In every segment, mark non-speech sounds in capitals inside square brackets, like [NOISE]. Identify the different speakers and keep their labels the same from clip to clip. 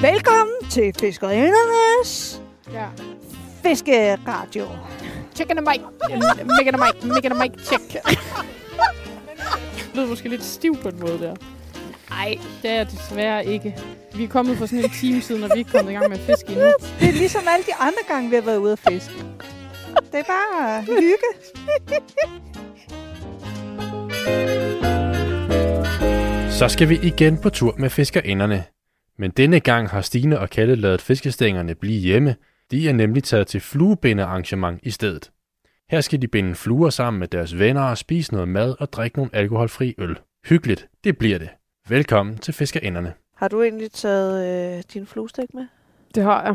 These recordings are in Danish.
Speaker 1: Velkommen til Fiskerindernes
Speaker 2: Ja.
Speaker 1: Fiskeradio.
Speaker 2: Chicken and Mike. Mega and Mike. Mega and Mike.
Speaker 1: [LAUGHS]
Speaker 2: Check. Det lyder måske lidt stiv på en måde der. Nej, det er jeg desværre ikke. Vi er kommet for sådan en time siden, og vi er ikke kommet i gang med at fiske endnu.
Speaker 1: Det er ligesom alle de andre gange, vi har været ude at fiske. Det er bare hygge.
Speaker 3: Så skal vi igen på tur med fiskerinderne. Men denne gang har Stine og Kalle lavet fiskestængerne blive hjemme. De er nemlig taget til fluebindearrangement i stedet. Her skal de binde fluer sammen med deres venner og spise noget mad og drikke nogle alkoholfri øl. Hyggeligt, det bliver det. Velkommen til fiskerinderne.
Speaker 1: Har du egentlig taget øh, din fluestik med?
Speaker 4: Det har jeg.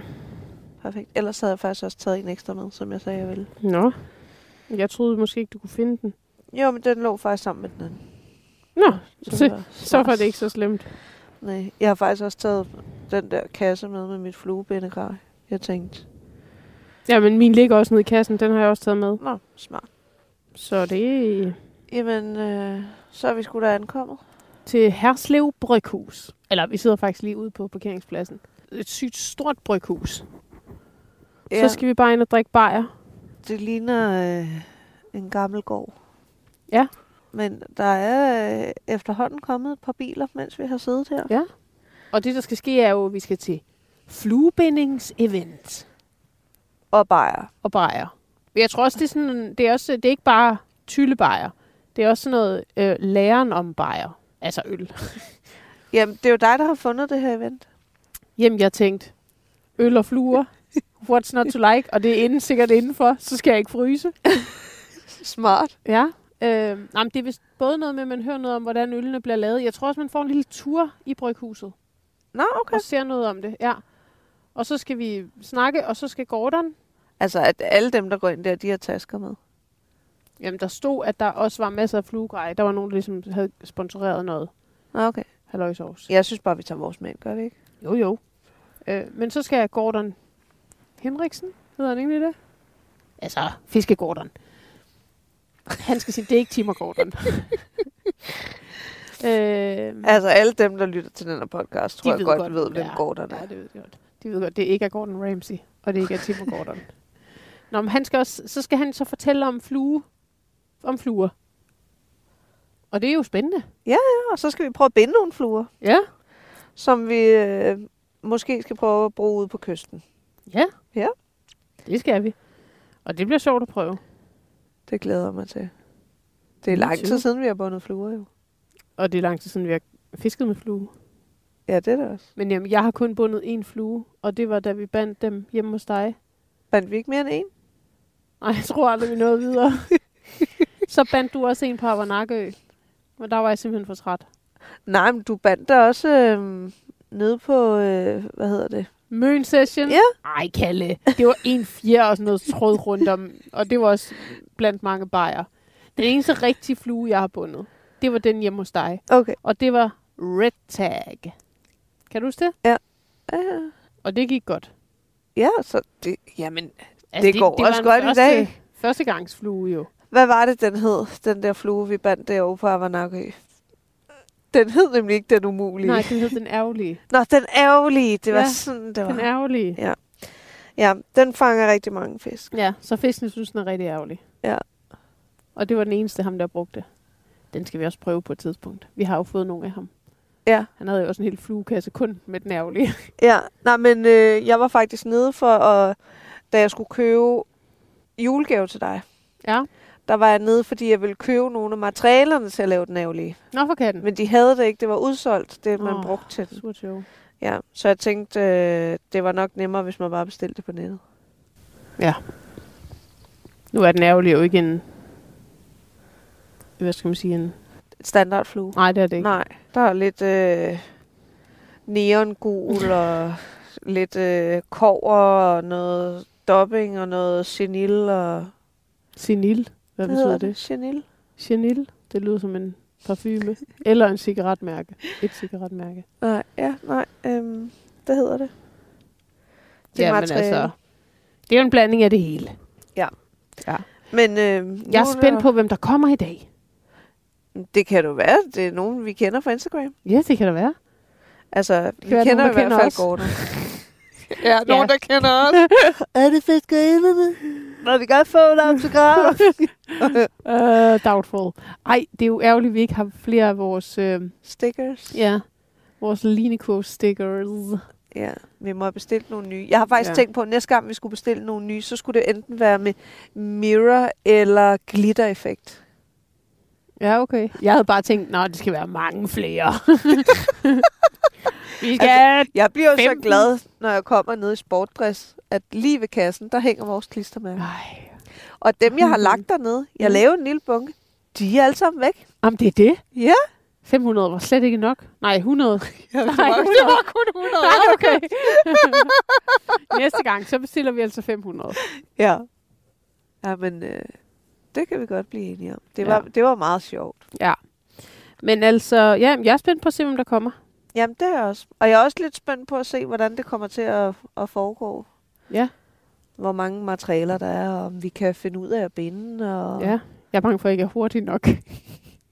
Speaker 1: Perfekt. Ellers havde jeg faktisk også taget en ekstra med, som jeg sagde, jeg ville.
Speaker 4: Nå. Jeg troede måske ikke, du kunne finde den.
Speaker 1: Jo, men den lå faktisk sammen med den anden.
Speaker 4: Nå,
Speaker 1: det
Speaker 4: se,
Speaker 1: var
Speaker 4: så var
Speaker 1: smart.
Speaker 4: det ikke så slemt.
Speaker 1: Nej, jeg har faktisk også taget den der kasse med med mit fluebindegrej. Jeg tænkte,
Speaker 4: Ja, men min ligger også nede i kassen. Den har jeg også taget med.
Speaker 1: nå, smart.
Speaker 4: Så det er
Speaker 1: Jamen, øh, så er vi sgu da ankommet.
Speaker 4: til Herslev Bryghus. Eller vi sidder faktisk lige ude på parkeringspladsen. Et sygt stort bryghus. Ja. Så skal vi bare ind og drikke bajer.
Speaker 1: Det ligner øh, en gammel gård.
Speaker 4: Ja.
Speaker 1: Men der er øh, efterhånden kommet et par biler, mens vi har siddet her.
Speaker 4: Ja. Og det, der skal ske, er jo, at vi skal til fluebindingsevent
Speaker 1: Og bajer.
Speaker 4: og bajer. Men Jeg tror også, det er, sådan, det er, også, det er ikke bare tyllebajer. Det er også sådan noget øh, læren om bajer. Altså øl.
Speaker 1: Jamen, det er jo dig, der har fundet det her event.
Speaker 4: Jamen, jeg tænkte, øl og [LAUGHS] fluer, what's not to like, og det er inden, sikkert indenfor, så skal jeg ikke fryse.
Speaker 1: Smart.
Speaker 4: Ja. Øh, nej, men det er vist både noget med, at man hører noget om, hvordan ølene bliver lavet. Jeg tror også, man får en lille tur i bryghuset
Speaker 1: Nå, okay.
Speaker 4: og ser noget om det. Ja. Og så skal vi snakke, og så skal Gordon...
Speaker 1: Altså, at alle dem, der går ind der, de har tasker med.
Speaker 4: Jamen, der stod, at der også var masser af fluegrej. Der var nogen, der ligesom havde sponsoreret noget.
Speaker 1: Nå, okay.
Speaker 4: Halløjsovs.
Speaker 1: Jeg synes bare, vi tager vores mænd, gør vi ikke?
Speaker 4: Jo, jo. Øh, men så skal Gordon Henriksen, hedder han egentlig det? Altså, fiskegordon. Han skal sige, det er ikke [LAUGHS] timmergordon. øh, ja,
Speaker 1: Altså, alle dem, der lytter til den her podcast, tror jeg
Speaker 4: ved
Speaker 1: godt,
Speaker 4: godt,
Speaker 1: ved, hvem
Speaker 4: ja.
Speaker 1: gård der er.
Speaker 4: det ved de godt. De ved godt, det ikke er Gordon Ramsay, og det ikke er [LAUGHS] timmergordon. Nå, men han skal også, så skal han så fortælle om flue, om fluer. Og det er jo spændende.
Speaker 1: Ja, og så skal vi prøve at binde nogle fluer,
Speaker 4: Ja.
Speaker 1: som vi øh, måske skal prøve at bruge ude på kysten.
Speaker 4: Ja.
Speaker 1: Ja.
Speaker 4: Det skal vi. Og det bliver sjovt at prøve.
Speaker 1: Det glæder jeg mig til. Det er
Speaker 4: Me
Speaker 1: lang tid
Speaker 4: too.
Speaker 1: siden, vi har bundet fluer, jo.
Speaker 4: Og det er lang tid siden, vi har fisket med flue.
Speaker 1: Ja, det er det også.
Speaker 4: Men jamen, jeg har kun bundet en flue, og det var, da vi bandt dem hjemme hos dig.
Speaker 1: Bandt vi ikke mere end en?
Speaker 4: Nej, jeg tror aldrig, vi nåede
Speaker 1: [LAUGHS]
Speaker 4: videre. så bandt du også en på Avernakø. Men der var jeg simpelthen for træt.
Speaker 1: Nej, men du bandt der også øh, nede på, øh, hvad hedder det?
Speaker 4: Møn session?
Speaker 1: Ja.
Speaker 4: Ej, Kalle. Det var en fjer og sådan noget tråd rundt om. Og det var også blandt mange bajer. Den eneste rigtige flue, jeg har bundet, det var den hjemme hos dig.
Speaker 1: Okay.
Speaker 4: Og det var Red Tag. Kan du huske det?
Speaker 1: Øh,
Speaker 4: Og det gik godt.
Speaker 1: ja, så det, jamen, Det
Speaker 4: Altså,
Speaker 1: går
Speaker 4: var
Speaker 1: også
Speaker 4: en
Speaker 1: godt i
Speaker 4: første,
Speaker 1: dag.
Speaker 4: Førstegangsflue jo.
Speaker 1: hvad var det, den hed? Den der flue, vi bandt derovre på Avanakø. Den hed nemlig ikke Den Umulige.
Speaker 4: Nej, den hed den ærgerlige.
Speaker 1: Nå, Den Ærgerlige. Det var
Speaker 4: Ja,
Speaker 1: sådan, det var.
Speaker 4: Den ærgerlige.
Speaker 1: Ja, den fanger rigtig mange fisk.
Speaker 4: Ja, så fiskene synes, den er rigtig ærgerlig.
Speaker 1: Ja.
Speaker 4: Og det var den eneste ham, der brugte. Den skal vi også prøve på et tidspunkt. Vi har jo fået nogle af ham.
Speaker 1: Ja.
Speaker 4: Han havde jo også en hel fluekasse kun med den ærgerlige.
Speaker 1: Ja, nej, men øh, jeg var faktisk nede for, at, da jeg skulle købe julegave til dig.
Speaker 4: [LAUGHS] Ja.
Speaker 1: Der var jeg nede, fordi jeg ville købe nogle af materialerne til at lave Den Ærgerlige.
Speaker 4: Nå for katten.
Speaker 1: Men de havde det ikke. Det var udsolgt, det man oh.
Speaker 4: Åh.
Speaker 1: brugte til den.
Speaker 4: Surt jo.
Speaker 1: Ja, så jeg tænkte, øh, det var nok nemmere, hvis man bare bestilte det på nettet.
Speaker 4: Nu er den ærgerlige jo ikke en... Hvad skal man sige? En...
Speaker 1: Standardflue.
Speaker 4: Nej, det er det ikke.
Speaker 1: Nej, der er lidt øh, neongul og [LAUGHS] lidt øh, kover og noget dobbing og noget senil. Og,
Speaker 4: Senil. Hvad betyder
Speaker 1: hedder
Speaker 4: det?
Speaker 1: Senil.
Speaker 4: Senil. Det lyder som en parfume. Eller en cigaretmærke. Et cigaretmærke.
Speaker 1: Nej, ja, nej. Øhm, det hedder det. Det er
Speaker 4: Jamen, altså-
Speaker 1: materiale.
Speaker 4: Det er jo en blanding af det hele.
Speaker 1: Men øh,
Speaker 4: Jeg er spændt på, hvem der kommer i dag.
Speaker 1: Det kan du være. Det er nogen, vi kender fra Instagram.
Speaker 4: Ja, det kan der være.
Speaker 1: Altså, vi
Speaker 4: være
Speaker 1: kender,
Speaker 4: nogen, der
Speaker 1: i hvert
Speaker 4: kender
Speaker 1: fald
Speaker 4: os.
Speaker 1: Gordon. ja,
Speaker 4: nogen,
Speaker 1: der kender
Speaker 4: [LAUGHS]
Speaker 1: os. er det fiskerinderne? Må vi godt få en autograf?
Speaker 4: [LAUGHS] Uh, doubtful. Ej, det er jo ærgerligt, at vi ikke har flere af vores, øh,
Speaker 1: Stickers?
Speaker 4: ja, vores linekurv-stickers.
Speaker 1: ja. Vi må have bestilt nogle nye. Jeg har faktisk
Speaker 4: Ja.
Speaker 1: ja. tænkt på, at næste gang vi skulle bestille nogle nye, så skulle det enten være med mirror eller glittereffekt.
Speaker 4: Ja, okay. Jeg havde bare tænkt, nej, det skal være mange
Speaker 1: [LAUGHS]
Speaker 4: flere. [LAUGHS] vi skal...
Speaker 1: Jeg bliver jo så
Speaker 4: 15.
Speaker 1: glad, når jeg kommer ned i sportdress, at lige ved kassen, der hænger vores klistermærker.
Speaker 4: Ej,
Speaker 1: Og dem, jeg har
Speaker 4: Mhm. [LAUGHS]
Speaker 1: lagt dernede, jeg
Speaker 4: Mhm.
Speaker 1: lavede en lille bunke, de er alle sammen væk.
Speaker 4: om det er det?
Speaker 1: Ja.
Speaker 4: 500 var slet ikke nok. Nej, 100.
Speaker 1: Ja,
Speaker 4: Nej, det var kun 100. Nej, okay. [LAUGHS] Næste gang, så bestiller vi altså 500.
Speaker 1: Ja. Ja, men øh, det kan vi godt blive enige om. Det
Speaker 4: Ja.
Speaker 1: var, ja. det var meget sjovt.
Speaker 4: Men altså, ja, jeg er spændt på at se, hvem der kommer.
Speaker 1: Jamen, det er jeg også. Og jeg er også lidt spændt på at se, hvordan det kommer til at, at foregå.
Speaker 4: Ja.
Speaker 1: Hvor mange materialer der er, og om vi kan finde ud af at binde. Og...
Speaker 4: Ja. Jeg er bange for, at jeg ikke er hurtig nok.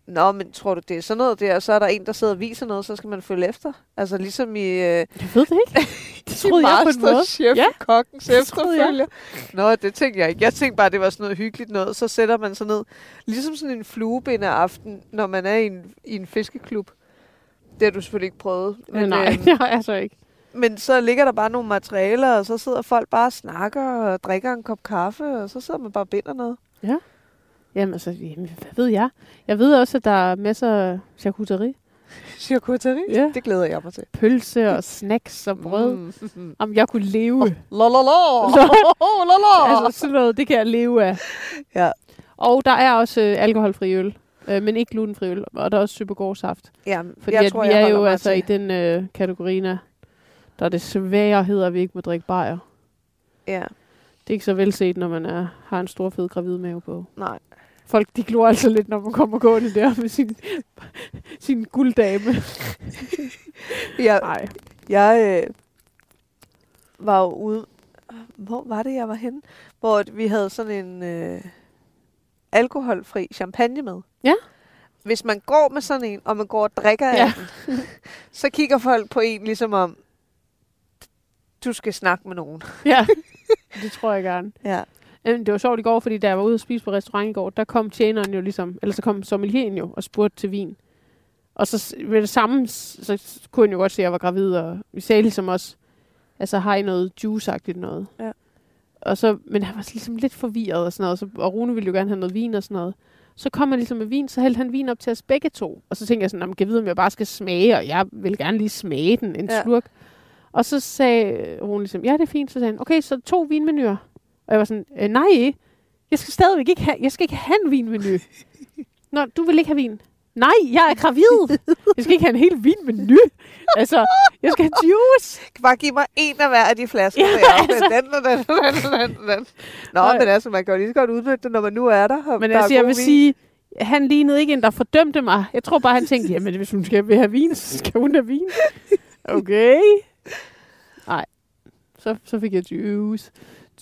Speaker 1: Nå, men tror du, det er sådan noget der, og så er der en, der sidder og viser noget, så skal man følge efter? Altså ligesom i... Øh,
Speaker 4: Jeg ved [LAUGHS] det ikke. Det troede jeg på en måde.
Speaker 1: Chef,
Speaker 4: Ja,
Speaker 1: kokkens
Speaker 4: det troede jeg.
Speaker 1: efterfølger. Nå, det tænkte jeg ikke. Jeg tænkte bare, det var sådan noget hyggeligt noget. Så sætter man sig ned, ligesom sådan en fluebinde aften, når man er i en, i en fiskeklub. Det har du selvfølgelig ikke prøvet.
Speaker 4: Men, Nej,
Speaker 1: øhm,
Speaker 4: [LAUGHS] det har jeg så ikke.
Speaker 1: men så ligger der bare nogle materialer, og så sidder folk bare og snakker og drikker en kop kaffe, og så sidder man bare og binder noget.
Speaker 4: Jamen altså, jamen, hvad ved jeg? Jeg ved også, at der er masser af charcuterie.
Speaker 1: Charcuterie?
Speaker 4: Ja.
Speaker 1: Det glæder jeg mig til.
Speaker 4: Pølse og snacks og brød. Mm.
Speaker 1: [LAUGHS] Mm.
Speaker 4: Om jeg kunne leve.
Speaker 1: La la
Speaker 4: [LAUGHS]
Speaker 1: la! La la la!
Speaker 4: Altså sådan noget, det kan jeg leve af.
Speaker 1: Ja.
Speaker 4: Og der er også øh, alkoholfri øl. Øh, men ikke glutenfri øl. Og der er også supergårdssaft.
Speaker 1: Ja,
Speaker 4: Fordi at vi er jo altså i den øh, kategori, der der desværre hedder, at vi ikke må drikke bajer.
Speaker 1: Ja,
Speaker 4: Det er ikke så velset, når man er, har en stor, fed gravid mave på.
Speaker 1: nej.
Speaker 4: Folk, de glor altså lidt, når man kommer gående der med sin, [LAUGHS] sin gulddame.
Speaker 1: Jeg,
Speaker 4: Nej.
Speaker 1: jeg øh, var jo ude... Hvor var det, jeg var henne? Hvor at vi havde sådan en øh, alkoholfri champagne med.
Speaker 4: Ja.
Speaker 1: Hvis man går med sådan en, og man går og drikker ja.
Speaker 4: Ja.
Speaker 1: af den, [LAUGHS] så kigger folk på en ligesom om, du skal snakke med nogen.
Speaker 4: Ja, det tror jeg gerne.
Speaker 1: Ja.
Speaker 4: Øhm, Det var sjovt i går, fordi da jeg var ude og spise på restaurant i går, der kom tjeneren jo ligesom, eller så kom sommelieren jo og spurgte til vin. Og så s- ved det samme, s- så s- kunne han jo godt se, at jeg var gravid, og vi sagde ligesom også, altså har I noget juice-agtigt noget?
Speaker 1: Ja.
Speaker 4: Og så, men han var sådan ligesom lidt forvirret og sådan noget, og, så, og Rune ville jo gerne have noget vin og sådan noget. Så kom han ligesom med vin, så hældte han vin op til os begge to. Og så tænkte jeg sådan, "Nå, men kan jeg vide, om jeg bare skal smage, og jeg vil gerne lige smage den, en ja.
Speaker 1: Ja.
Speaker 4: slurk. Og så sagde Rune ligesom, ja, det er fint. Så sagde han, okay, så to vinmenuer. Og jeg var sådan, øh, nej, jeg skal stadigvæk ikke have, jeg skal ikke have en vinmenu. Nå, du vil ikke have vin. Nej, jeg er gravid. Jeg skal ikke have en hel vinmenu. Altså, jeg skal have juice.
Speaker 1: Kan bare give mig en af hver af de flasker.
Speaker 4: Ja, [LAUGHS]
Speaker 1: Ja, altså.
Speaker 4: altså.
Speaker 1: den, og den, og den, og den, og den. Nå,
Speaker 4: Nej.
Speaker 1: men altså, man kan jo lige så godt udnytte det, når man nu er der. og
Speaker 4: Men
Speaker 1: der er
Speaker 4: altså, jeg
Speaker 1: god
Speaker 4: vil
Speaker 1: vin.
Speaker 4: sige, han lignede ikke en, der fordømte mig. Jeg tror bare, han tænkte, jamen, hvis hun skal vil have vin, så skal hun have vin. Okay. Nej. Så, så fik jeg juice.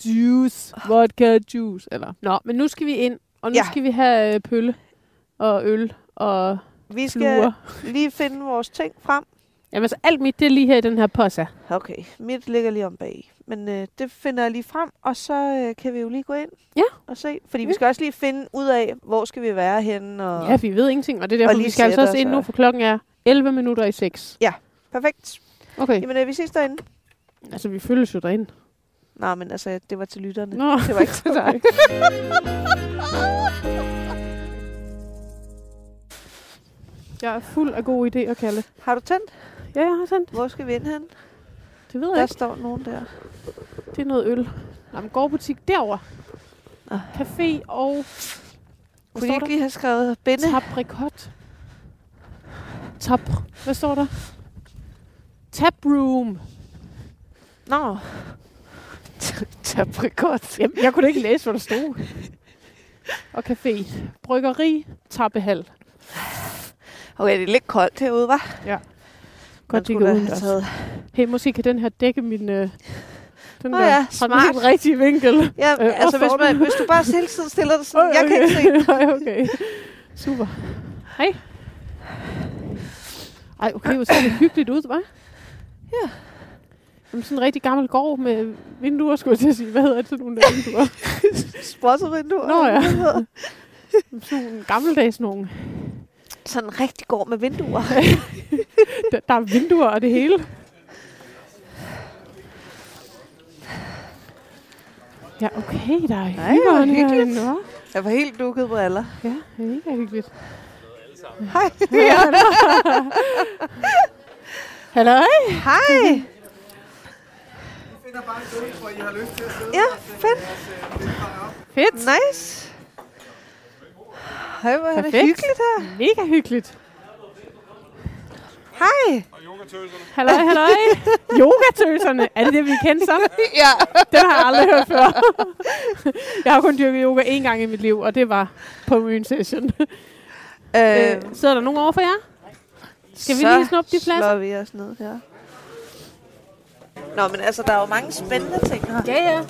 Speaker 4: Juice. Vodka juice. Eller. Nå, men nu skal vi ind, og nu ja.
Speaker 1: Ja.
Speaker 4: skal vi have øh, pølle og øl og
Speaker 1: vi skal
Speaker 4: fluer.
Speaker 1: lige finde vores ting frem.
Speaker 4: Jamen, altså, alt mit, det er lige her i den her posse.
Speaker 1: Okay, mit ligger lige om bag. Men øh, det finder jeg lige frem, og så øh, kan vi jo lige gå ind
Speaker 4: Ja.
Speaker 1: og se. Fordi
Speaker 4: Ja.
Speaker 1: vi skal også lige finde ud af, hvor skal vi være henne. Og...
Speaker 4: Ja, vi ved ingenting, og det er
Speaker 1: Og
Speaker 4: derfor,
Speaker 1: lige
Speaker 4: vi skal altså
Speaker 1: sætte
Speaker 4: også ind
Speaker 1: os,
Speaker 4: nu,
Speaker 1: ja.
Speaker 4: for klokken er 11 minutter i 6.
Speaker 1: Perfekt.
Speaker 4: Okay,
Speaker 1: Jamen, øh, vi ses derinde.
Speaker 4: altså, vi følges jo derind.
Speaker 1: Nej, men altså, det var til lytterne.
Speaker 4: Nå.
Speaker 1: Det var
Speaker 4: [LAUGHS]
Speaker 1: ikke til dig.
Speaker 4: Jeg er fuld af gode idéer, Kalle.
Speaker 1: Har du tændt?
Speaker 4: Ja, jeg har sendt.
Speaker 1: Hvor skal vi ind hen?
Speaker 4: Det ved jeg
Speaker 1: Der
Speaker 4: ikke.
Speaker 1: står nogen der.
Speaker 4: Det er noget øl. Nå, men gårdbutik derovre.
Speaker 1: Ah.
Speaker 4: Café og... Hvad
Speaker 1: Kunne I
Speaker 4: står
Speaker 1: ikke
Speaker 4: der?
Speaker 1: lige have skrevet binde?
Speaker 4: Taprikot. Tap... Hvad står der? Taproom.
Speaker 1: Nå.
Speaker 4: Taprikot. Jamen, jeg kunne da ikke læse, hvad der stod. Og café. Bryggeri. Tappehal.
Speaker 1: Okay, det er lidt koldt herude, hva'?
Speaker 4: Godt, det
Speaker 1: skulle da have
Speaker 4: udendørs.
Speaker 1: taget.
Speaker 4: altså. Hey, måske kan den her dække min... Øh, den
Speaker 1: Nå
Speaker 4: der,
Speaker 1: ja,
Speaker 4: fra den helt
Speaker 1: smart.
Speaker 4: rigtige vinkel.
Speaker 1: Ja,
Speaker 4: Øh, hvor
Speaker 1: altså, hvis,
Speaker 4: står Øh,
Speaker 1: man,
Speaker 4: den?
Speaker 1: hvis du bare hele tiden stiller dig sådan, jeg kan ikke se.
Speaker 4: [LAUGHS] Nej, okay. Super. Hej. Ej, okay, hvor ser det hyggeligt ud, hva'? Jamen, sådan en rigtig gammel gård med vinduer, skulle jeg til at sige. Hvad hedder det, sådan nogle der vinduer?
Speaker 1: Sprossevinduer.
Speaker 4: Nå ja.
Speaker 1: eller hvad?
Speaker 4: Sådan nogle gammeldags nogen.
Speaker 1: Sådan en rigtig gård med vinduer.
Speaker 4: Der, der er vinduer og det hele. Ja, okay, der er
Speaker 1: Nej, hvor
Speaker 4: hyggeligt
Speaker 1: hyggeligt.
Speaker 4: herinde, hva'?
Speaker 1: Jeg var helt dukket briller.
Speaker 4: Ja, det er mega hyggeligt.
Speaker 1: Hej. Ja.
Speaker 4: [LAUGHS] Hallo,
Speaker 1: Hej. Ja, fedt.
Speaker 4: fedt.
Speaker 1: Nice. Hej, hvor er det
Speaker 4: Perfekt.
Speaker 1: hyggeligt her.
Speaker 4: Mega hyggeligt.
Speaker 1: Hej.
Speaker 4: Hallo, hallo.
Speaker 1: [LAUGHS]
Speaker 4: Yogatøserne, er det det, vi kender som?
Speaker 1: Ja.
Speaker 4: Den har jeg aldrig hørt før. jeg har kun dyrket yoga én gang i mit liv, og det var på Moon Session.
Speaker 1: Øh,
Speaker 4: Øh, sidder der nogen over for jer? skal vi
Speaker 1: så
Speaker 4: lige snuppe de pladser?
Speaker 1: slår vi os ned her. Nå, men altså, der er jo mange spændende ting her.
Speaker 4: Ja, ja.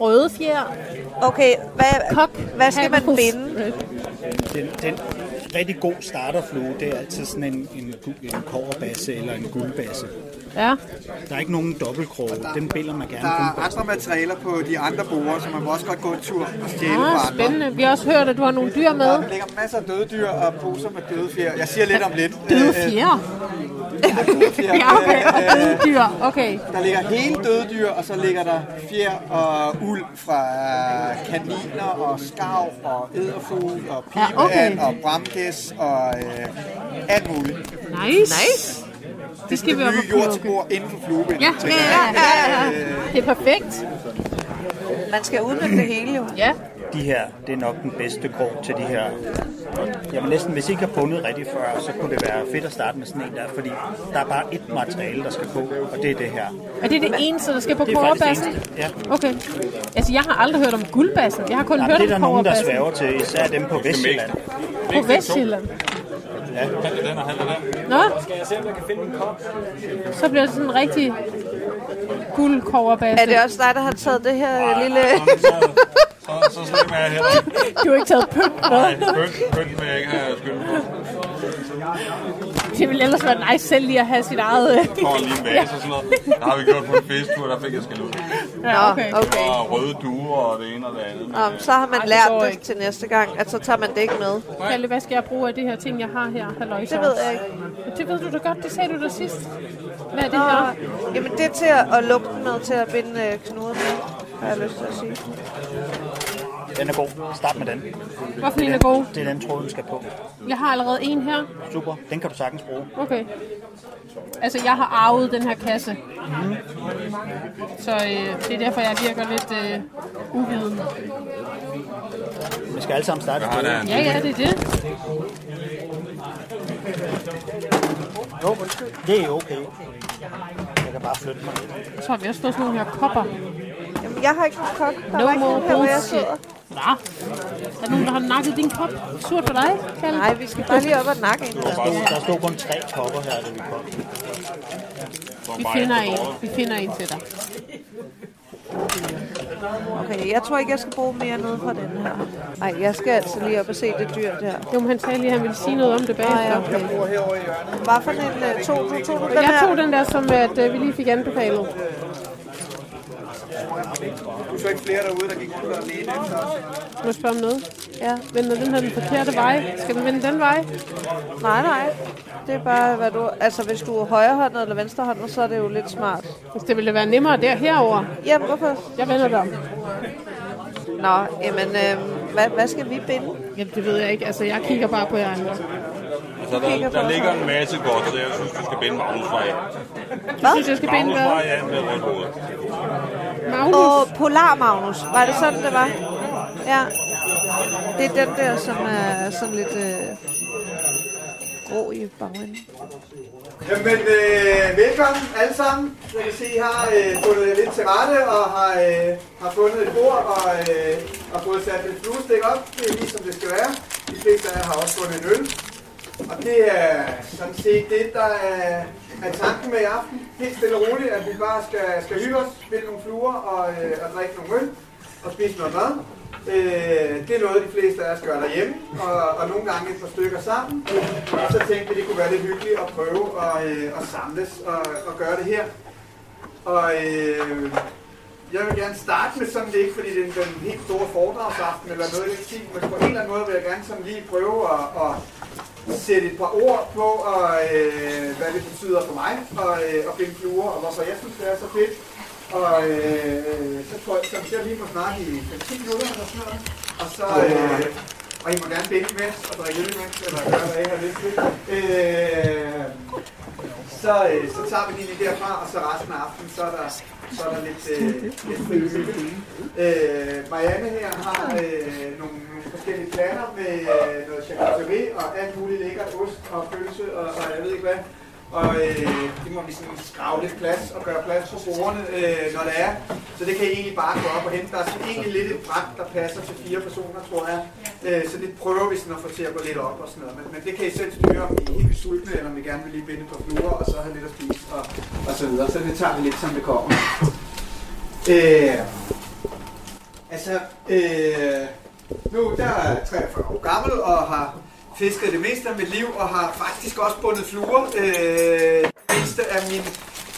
Speaker 4: Røde fjer,
Speaker 1: Okay, hvad,
Speaker 4: kok.
Speaker 1: hvad skal man
Speaker 4: haverfrus.
Speaker 1: binde?
Speaker 5: Den, den rigtig god starterflue, det er altid sådan en, en, gu- en kårbasse eller en guldbasse.
Speaker 4: Ja,
Speaker 5: Der er ikke nogen dobbeltkroge. Dem biller man gerne
Speaker 6: Der
Speaker 5: kun
Speaker 6: er
Speaker 5: på.
Speaker 6: andre materialer på de andre borde, så man må også godt gå en tur og stjæle fra
Speaker 4: ah,
Speaker 6: andre.
Speaker 4: spændende. Vi har også hørt, at du har nogle dyr med.
Speaker 6: Der ligger masser af døde dyr og poser med døde fjer. Jeg siger lidt om lidt.
Speaker 4: Døde
Speaker 6: Øh, øh,
Speaker 4: fjer.
Speaker 6: døde fjer.
Speaker 4: Ja, okay. Og
Speaker 6: Øh,
Speaker 4: døde dyr. Okay.
Speaker 6: Der ligger hele døde dyr, og så ligger der fjer og uld fra kaniner og skav og æderfugl og
Speaker 4: Ja,
Speaker 6: pivan
Speaker 4: okay.
Speaker 6: og bramgæs og øh, alt muligt. Det
Speaker 4: Nice. Det skal vi
Speaker 6: er
Speaker 4: op
Speaker 6: det
Speaker 4: og
Speaker 6: nye
Speaker 4: prøve. okay.
Speaker 6: jordspor inden for flueben.
Speaker 4: Ja, ja, ja, ja, ja. Det er perfekt.
Speaker 1: [LAUGHS] Man skal udnytte det hele jo.
Speaker 4: Ja.
Speaker 5: De her, det er nok den bedste krog til de her. Jamen næsten, hvis I ikke har bundet rigtig før, så kunne det være fedt at starte med sådan en der, fordi der er bare et materiale, der skal på, og det er det her.
Speaker 4: Og det er det eneste, der skal på
Speaker 5: Det er faktisk det
Speaker 4: kårebassen?
Speaker 5: eneste. Ja.
Speaker 4: Okay. Altså, jeg har aldrig hørt om guldbassen. Jeg har kun
Speaker 5: Nej,
Speaker 4: hørt
Speaker 5: det er der
Speaker 4: om
Speaker 5: nogen, der
Speaker 4: kårebassen
Speaker 5: sværger til, især dem på Vestjylland.
Speaker 4: på Vestjylland.
Speaker 5: Ja.
Speaker 4: Nå? Så bliver det sådan en rigtig guldkårebasse.
Speaker 1: Er det også dig, der har taget det her øh, lille...
Speaker 7: Så, så slem er jeg heller ikke.
Speaker 4: Du har ikke taget
Speaker 1: [LAUGHS]
Speaker 4: pynt med.
Speaker 7: Bøn, bøn vil jeg ikke have skyld på.
Speaker 4: Det ville ellers være nice selv lige at have sit eget... øh.
Speaker 7: Får lige en vase og sådan noget. Der har vi gjort på en festtur, der fik jeg skal ud.
Speaker 4: Ja, okay.
Speaker 1: Nå, okay.
Speaker 7: Og røde duer og det ene og det andet. Men,
Speaker 1: Nå, så har man
Speaker 4: Ej, det går
Speaker 1: lært det
Speaker 4: ikke.
Speaker 1: til næste gang, at så tager man det ikke med.
Speaker 4: Kalle, hvad skal jeg bruge af det her ting, jeg har her? Halløj,
Speaker 1: Det ved jeg ikke.
Speaker 4: Det ved du da godt. Det sagde du da sidst. Hvad er det
Speaker 1: Nå,
Speaker 4: her?
Speaker 1: jamen det er til at, at lukke den med, til at binde øh, knuden med, har jeg lyst til at sige.
Speaker 5: Den er god. Start med den.
Speaker 4: Hvorfor er den god?
Speaker 5: Det er den tråd, den skal på.
Speaker 4: Jeg har allerede en her.
Speaker 5: Super. Den kan du sagtens bruge.
Speaker 4: Okay. Altså, jeg har arvet den her kasse. Så øh, det er derfor, jeg virker lidt øh, uviden.
Speaker 5: Vi skal alle sammen starte et
Speaker 7: har
Speaker 5: sted.
Speaker 7: da en
Speaker 4: Ja, ja, det er det.
Speaker 5: Jo, undskyld. Det er okay. Jeg kan bare flytte mig lidt.
Speaker 4: Så har vi også fået sådan nogle her kopper.
Speaker 1: Jamen jeg har ikke nogen kok. Der
Speaker 4: No
Speaker 1: er ikke
Speaker 4: more
Speaker 1: nogen her, hvor jeg
Speaker 4: bullshit.
Speaker 1: sidder.
Speaker 4: Nå. Er der nogen, der har nakket din kop? Surt for dig, Kalle?
Speaker 1: Nej, vi skal bare lige op og nakke en.
Speaker 5: Der stod, der stod kun tre kopper her, da vi kom.
Speaker 4: Vi finder en. Vi finder en til dig.
Speaker 1: Okay, jeg tror ikke, jeg skal bruge mere noget fra den her. Nej, jeg skal altså lige op og se det dyr der.
Speaker 4: Jo, men han sagde lige, at han ville sige noget om det bagefter.
Speaker 1: Ej, okay. Hvad for en øh, tog du? Tog du den
Speaker 4: Jeg
Speaker 1: her?
Speaker 4: tog den der, som at, øh, vi lige fik anbefalet.
Speaker 6: Du så ikke flere derude, der gik rundt alene.
Speaker 4: Må jeg spørge om noget?
Speaker 1: Ja.
Speaker 4: Vender den her den forkerte vej? Skal den vende den vej?
Speaker 1: Nej, nej. Det er bare, hvad du... Altså, hvis du er højrehåndet eller venstrehåndet, så er det jo lidt smart.
Speaker 4: Altså, det ville være nemmere der herover.
Speaker 1: Jamen, hvorfor?
Speaker 4: Jeg vender dig om.
Speaker 1: Nå, jamen, øh, hvad, hvad skal vi binde?
Speaker 4: Jamen, det ved jeg ikke. Altså, jeg kigger bare på jer andre.
Speaker 7: Altså, der, der ligger en masse godt, så jeg synes, du skal binde Magnusvej.
Speaker 4: Jeg synes, jeg skal binde hvad?
Speaker 7: Magnusvej af med rødt hoved.
Speaker 4: Magnus.
Speaker 1: Og Polar Magnus, var det sådan, det var? Ja. Det er den der, som er sådan lidt øh, grå i bagenden.
Speaker 6: Jamen, øh, velkommen alle sammen. Jeg kan se, I har øh, fundet jer lidt til rette og har, øh, har fundet et bord og øh, har fået sat et fluestik op. Det er lige som det skal være. De fleste af jer har også fundet en øl. Og det er sådan set det, der er, er tanken med i aften. Helt stille og roligt, at vi bare skal, skal hygge os, spille nogle fluer og, øh, og drikke nogle øl og spise noget mad. Øh, det er noget, de fleste af os gør derhjemme, og, og nogle gange et par stykker sammen. Og så tænkte vi, det kunne være lidt hyggeligt at prøve at, øh, at samles og, og gøre det her. Og øh, jeg vil gerne starte med sådan, det er ikke fordi det er den helt store foredragsaften eller noget i den stil, men på en eller anden måde vil jeg gerne sådan lige prøve at, at sætte et par ord på, og, øh, hvad det betyder for mig og, øh, at finde fluer, og hvorfor jeg synes, det er så fedt. Og øh, så tror jeg, så jeg lige må snakke i 10 minutter eller sådan noget. Og så... Øh, og I må gerne binde imens, og drikke øl imens, eller gøre, hvad I har lyst til. Øh, så, øh, så tager vi lige lidt derfra, og så resten af aftenen, så er der, så er der lidt, øh, lidt frivilligt. Øh, Marianne her har øh, nogle, nogle forskellige planer med øh, noget charcuterie og alt muligt lækkert, ost og pølse og, og jeg ved ikke hvad. Og øh, det må vi sådan skrave lidt plads og gøre plads på bordene, øh, når det er. Så det kan I egentlig bare gå op og hente. Der er sådan egentlig lidt et bræt, der passer til fire personer, tror jeg. Øh, så det prøver vi sådan at få til at gå lidt op og sådan noget. Men, men det kan I selv styre, om I er helt sultne, eller om I gerne vil lige binde på fluer, og så have lidt at spise og, og så videre. Så det tager vi lidt, som det kommer. Øh, altså, øh, nu der er jeg 43 år gammel og har fisket det meste af mit liv, og har faktisk også bundet fluer øh, det meste af min,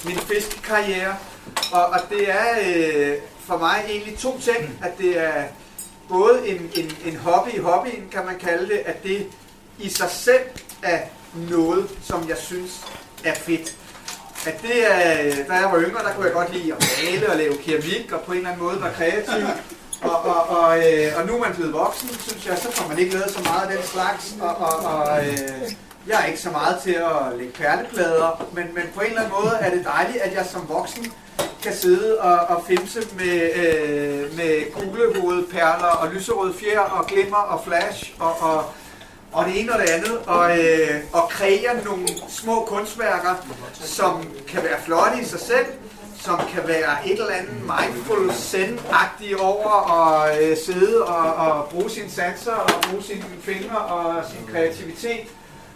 Speaker 6: min fiskekarriere. Og, og det er øh, for mig egentlig to ting, at det er både en, en, en hobby i hobbyen, kan man kalde det, at det i sig selv er noget, som jeg synes er fedt. At det er, øh, da jeg var yngre, der kunne jeg godt lide at male og lave keramik, og på en eller anden måde være kreativ. Og, og, og, øh, og nu er man blevet voksen, synes jeg, så får man ikke lavet så meget af den slags. Og, og, og øh, jeg er ikke så meget til at lægge perleplader, men, men på en eller anden måde er det dejligt, at jeg som voksen kan sidde og, og fimse med, øh, med kuglehovedperler og lyserøde fjer og glimmer og flash og, og, og det ene og det andet, og, øh, og kreere nogle små kunstværker, som kan være flotte i sig selv, som kan være et eller andet mindful zen over at øh, sidde og, og bruge sine sanser og bruge sine fingre og sin kreativitet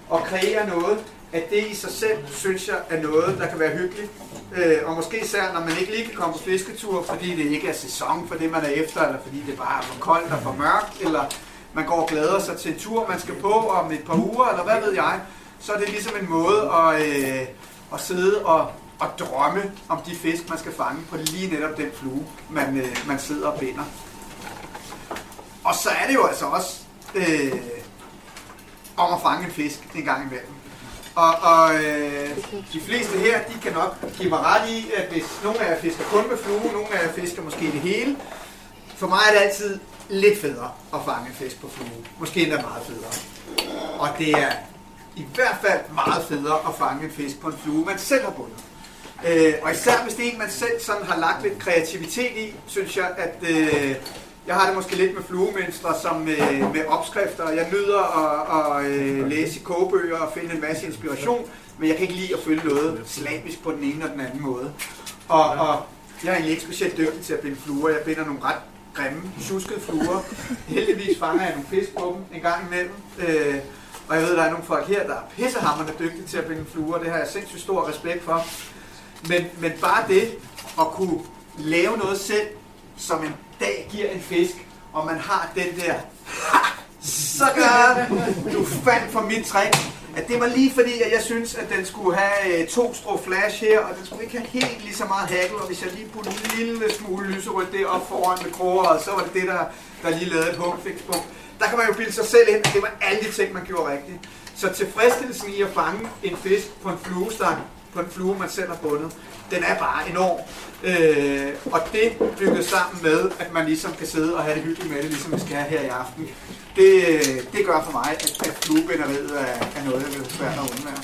Speaker 6: og kreere noget, at det i sig selv, synes jeg, er noget, der kan være hyggeligt. Øh, og måske især, når man ikke lige kan komme på fisketur, fordi det ikke er sæson for det, man er efter, eller fordi det bare er for koldt og for mørkt, eller man går og glæder sig til en tur, man skal på om et par uger, eller hvad ved jeg, så er det ligesom en måde at, øh, at sidde og, og drømme om de fisk, man skal fange på lige netop den flue, man, øh, man sidder og binder. Og så er det jo altså også øh, om at fange en fisk en gang imellem. Og, og øh, de fleste her, de kan nok give mig ret i, at hvis nogle af jer fisker kun med flue, nogle af jer fisker måske det hele, for mig er det altid lidt federe at fange en fisk på flue. Måske endda meget federe. Og det er i hvert fald meget federe at fange en fisk på en flue, man selv har bundet. Øh, og især hvis det er en, man selv sådan har lagt lidt kreativitet i, synes jeg, at øh, jeg har det måske lidt med fluemønstre som øh, med opskrifter. Jeg nyder at, at øh, læse i kogebøger og finde en masse inspiration, men jeg kan ikke lide at følge noget slavisk på den ene og den anden måde. Og, og jeg er egentlig ikke specielt dygtig til at binde fluer. Jeg binder nogle ret grimme, tjuskede fluer. Heldigvis fanger jeg nogle fisk på dem en gang imellem. Øh, og jeg ved, der er nogle folk her, der er pissehammerne dygtige til at binde fluer. Det har jeg sindssygt stor respekt for. Men, men bare det at kunne lave noget selv, som en dag giver en fisk, og man har den der, [LAUGHS] ha, så gør du fandt for mit trick. At det var lige fordi, at jeg synes, at den skulle have øh, to strå flash her, og den skulle ikke have helt lige så meget hakkel, og hvis jeg lige puttede en lille smule lyserødt deroppe foran med kroger, og så var det det, der, der lige lavede et humfikspunkt. Der kan man jo bilde sig selv ind, at det var alle de ting, man gjorde rigtigt. Så tilfredsstillelsen i at fange en fisk på en fluestang, på en flue, man selv har bundet, den er bare enorm. Øh, og det bygget sammen med, at man ligesom kan sidde og have det hyggeligt med det, ligesom vi skal have her i aften, det, øh, det gør for mig, at, at fluebinderiet er, er noget, jeg vil svært at undvære.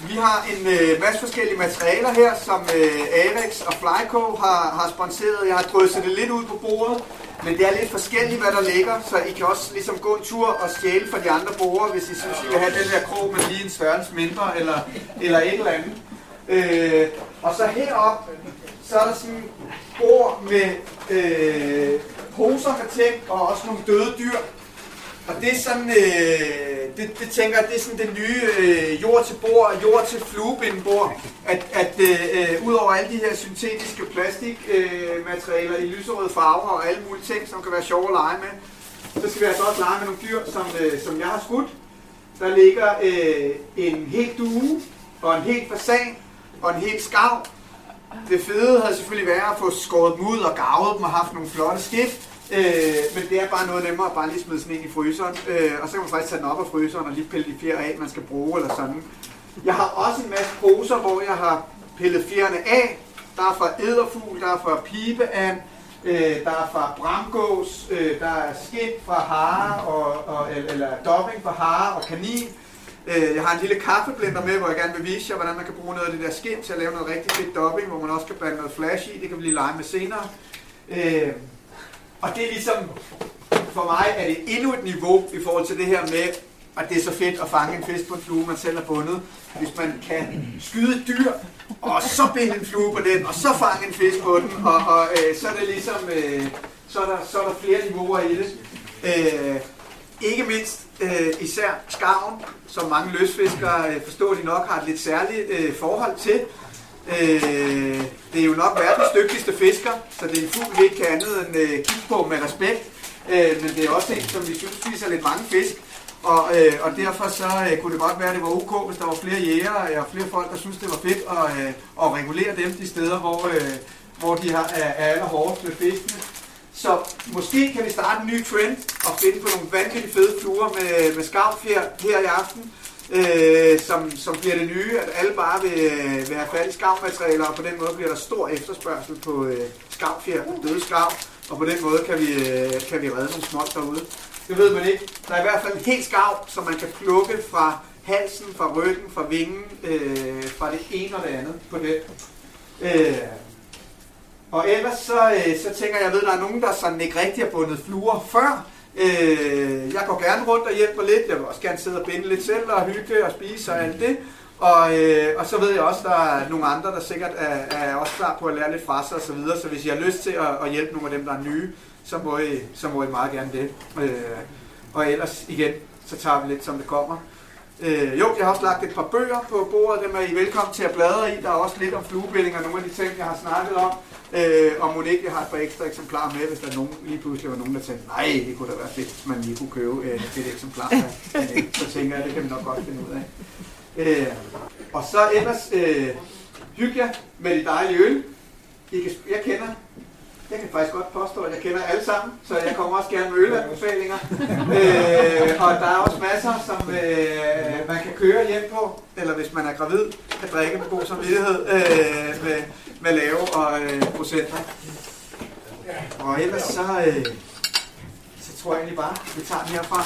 Speaker 6: Vi har en øh, masse forskellige materialer her, som øh, Alex og Flyco har, har sponsoreret. Jeg har drysset det lidt ud på bordet, men det er lidt forskelligt, hvad der ligger, så I kan også ligesom gå en tur og stjæle fra de andre borgere, hvis I synes, I vil have den her krog med lige en størrelse mindre, eller, eller et eller andet. Øh, og så herop, så er der sådan et bord med øh, poser med ting, og også nogle døde dyr. Og det er sådan, øh, det, det tænker jeg, det er sådan det nye øh, jord til bord og jord til fluebindbord, at, at øh, øh, ud over alle de her syntetiske plastikmaterialer øh, materialer i lyserøde farver og alle mulige ting, som kan være sjove at lege med, så skal vi altså også lege med nogle dyr, som, øh, som jeg har skudt. Der ligger øh, en helt due, og en helt fasan, og en helt skav, det fede havde selvfølgelig været at få skåret dem ud og garvet dem og haft nogle flotte skift. Øh, men det er bare noget nemmere at bare lige smide sådan en i fryseren. Øh, og så kan man faktisk tage den op af fryseren og lige pille de fjer af, man skal bruge eller sådan. Jeg har også en masse poser, hvor jeg har pillet fjerne af. Der er fra æderfugl, der er fra pibeand, øh, der er fra bramgås, øh, der er skind fra hare, og, og, eller, eller dobbing fra hare og kanin. Øh, Jeg har en lille kaffeblender med, hvor jeg gerne vil vise jer, hvordan man kan bruge noget af det der skin til at lave noget rigtig fedt dopping, hvor man også kan blande noget flash i. Det kan vi lige lege med senere. Øh, Og det er ligesom, for mig er det endnu et niveau i forhold til det her med, at det er så fedt at fange en fisk på en flue, man selv har bundet. Hvis man kan skyde et dyr, og så binde en flue på den, og så fange en fisk på den, og, og øh, så er det ligesom, øh, så, er der, så er der flere niveauer i det. Øh, ikke mindst øh, især skarven, som mange løsfiskere øh, forstår de nok har et lidt særligt øh, forhold til. Øh, det er jo nok verdens dygtigste fisker, så det er en fugl, vi ikke kan andet end øh, kigge på med respekt. Øh, men det er også en, som vi synes spiser lidt mange fisk. Og, øh, og derfor så øh, kunne det godt være, at det var ok, hvis der var flere jæger og flere folk, der synes det var fedt at, øh, at regulere dem de steder, hvor, øh, hvor de har, er, er allerhårdest med fiskene. Så måske kan vi starte en ny trend og finde på nogle vanvittigt fede fluer med, med skavfjer her i aften, øh, som, som bliver det nye, at alle bare vil, øh, vil have fat i skavmaterialer, og på den måde bliver der stor efterspørgsel på øh, skavfjer og døde skav, og på den måde kan vi, øh, kan vi redde nogle småt derude. Det ved man ikke. Der er i hvert fald en helt skav, som man kan plukke fra halsen, fra ryggen, fra vingen, øh, fra det ene og det andet på det. Øh, og ellers så, øh, så tænker jeg, jeg ved, der er nogen, der sådan ikke rigtig har bundet fluer før. Øh, jeg går gerne rundt og hjælper lidt. Jeg vil også gerne sidde og binde lidt selv og hygge og spise og alt det. Og, øh, og så ved jeg også, der er nogle andre, der sikkert er, er også klar på at lære lidt fra sig og så videre. Så hvis I har lyst til at, at hjælpe nogle af dem, der er nye, så må I, så må I meget gerne det. Øh, og ellers igen, så tager vi lidt, som det kommer. Øh, jo, jeg har også lagt et par bøger på bordet, dem er I velkommen til at bladre i. Der er også lidt om fluebinding og nogle af de ting, jeg har snakket om. Øh, og mon ikke, jeg har et par ekstra eksemplarer med, hvis der er nogen, lige pludselig var nogen, der tænkte, nej, det kunne da være fedt, hvis man lige kunne købe øh, et eksemplar. af." Øh, så tænker jeg, det kan vi nok godt finde ud af. Øh, og så ellers, øh, hygge jer med de dejlige øl. I kan, jeg kender jeg kan faktisk godt påstå, at jeg kender alle sammen, så jeg kommer også gerne med ølanbefalinger. øh, og der er også masser, som øh, man kan køre hjem på, eller hvis man er gravid, kan drikke med god samvittighed øh, med, med lave og øh, procenter. Og ellers så, øh, så tror jeg egentlig bare, at vi tager den herfra.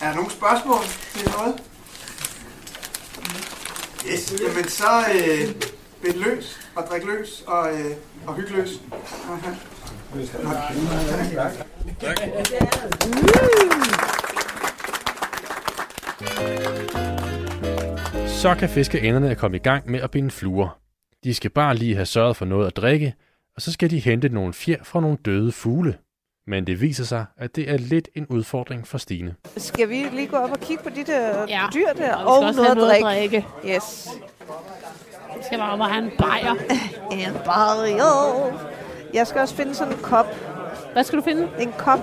Speaker 6: Er der nogle spørgsmål til noget? Yes, jamen så øh, bind løs og drik løs og, øh, og hyg løs.
Speaker 3: Så kan fiskeenderne er kommet i gang med at binde fluer. De skal bare lige have sørget for noget at drikke, og så skal de hente nogle fjer fra nogle døde fugle. Men det viser sig, at det er lidt en udfordring for Stine.
Speaker 1: Skal vi lige gå op og kigge på de der
Speaker 2: Ja.
Speaker 1: ja. dyr der?
Speaker 2: Og vi skal
Speaker 1: Og,
Speaker 2: også
Speaker 1: noget
Speaker 2: have noget at
Speaker 1: drik.
Speaker 2: drikke.
Speaker 1: Yes.
Speaker 2: Vi skal bare op og have en bajer.
Speaker 1: En barrio. Jeg skal også finde sådan en kop.
Speaker 2: Hvad skal du finde?
Speaker 1: En kop.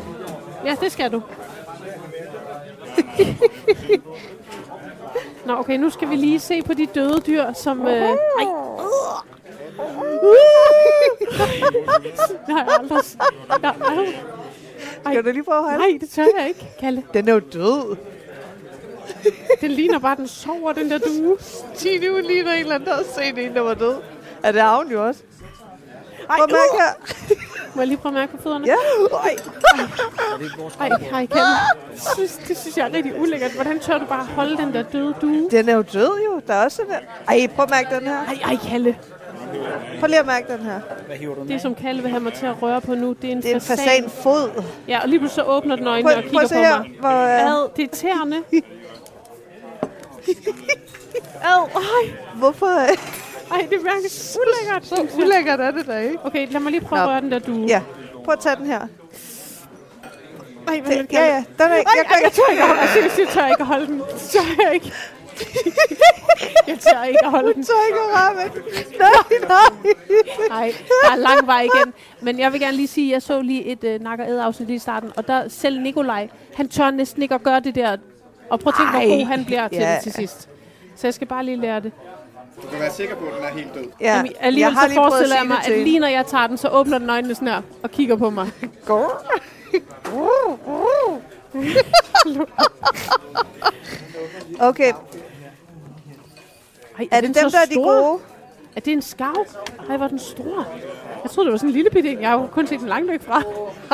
Speaker 2: Ja, det skal
Speaker 6: [LAUGHS]
Speaker 2: du. Nå, okay, nu skal vi lige se på de døde dyr, som... Øh, ej. Jeg har aldrig... Jeg har aldrig...
Speaker 1: Skal du lige prøve at holde?
Speaker 2: Nej, det tør jeg ikke, Kalle.
Speaker 1: Den er jo død.
Speaker 2: Den ligner bare, den sover, den der due.
Speaker 1: Tine, hun ligner en eller anden, der har set en, der var død. Er det Avn jo også? Ej, Hvor mærker
Speaker 4: uh!
Speaker 1: jeg?
Speaker 2: Må jeg lige prøve at mærke på fødderne?
Speaker 1: Ja. Ej.
Speaker 2: Ej, hej, Kalle. Det synes, det synes jeg er rigtig ulækkert. Hvordan tør du bare holde den der døde due?
Speaker 1: Den er jo død jo. Der er også den der. Ej, prøv at mærke den her.
Speaker 2: Ej, ej, Kalle.
Speaker 1: Prøv lige at mærke den her.
Speaker 2: Det, som Kalle vil have mig til at røre på nu, det er en,
Speaker 1: Det er en fasanfod.
Speaker 2: Ja, og lige pludselig så åbner den øjnene
Speaker 1: Prøv,
Speaker 2: og
Speaker 1: prøv
Speaker 2: kigger
Speaker 1: at se
Speaker 2: på
Speaker 1: her.
Speaker 2: mig.
Speaker 1: Hvor, øh,
Speaker 2: Ad, det er tæerne. Ad, ej,
Speaker 1: hvorfor?
Speaker 2: øh, ej, det mærkes ulækkert. Så
Speaker 1: Ulækkert er det da, ikke?
Speaker 2: Okay, lad mig lige prøve at
Speaker 1: Nå.
Speaker 2: røre den der due.
Speaker 1: Ja. Prøv at tage den her.
Speaker 8: Nej, hvad vil
Speaker 2: Ja, ja. Den er, jeg,
Speaker 4: Ej,
Speaker 2: jeg,
Speaker 4: jeg tør ikke at holde den. Seriøst, jeg tør ikke at holde den. Jeg tør ikke. jeg tør ikke at holde den.
Speaker 2: tør ikke at røre ved den. Nej, nej.
Speaker 4: Nej, der er lang vej igen. Men jeg vil gerne lige sige, at jeg så lige et øh, nak og æd afsnit lige i starten, og der selv Nikolaj, han tør næsten ikke at gøre det der. Og prøv at tænke, hvor
Speaker 2: Ej.
Speaker 4: god han bliver til
Speaker 2: Ja.
Speaker 4: det til sidst. Så jeg skal bare lige lære det.
Speaker 6: Du kan være sikker på, at den er helt død.
Speaker 2: Ja,
Speaker 4: Jamen, alligevel så
Speaker 2: prøvet
Speaker 4: forestiller jeg mig,
Speaker 2: sige det
Speaker 4: at
Speaker 2: til
Speaker 4: lige når jeg tager den, så åbner den øjnene sådan her og kigger på
Speaker 2: [LAUGHS]
Speaker 4: mig.
Speaker 2: hende.
Speaker 4: [LAUGHS]
Speaker 2: Grrr. Grrr, grrr. Okay,
Speaker 4: Ej,
Speaker 2: er det
Speaker 4: den
Speaker 2: dem,
Speaker 4: så
Speaker 2: der er de
Speaker 4: stor?
Speaker 2: gode?
Speaker 4: Er det en skarv? Ej, hvor er den stor. Jeg troede, det var sådan en lille bitte en. Jeg har jo kun set den langt væk fra.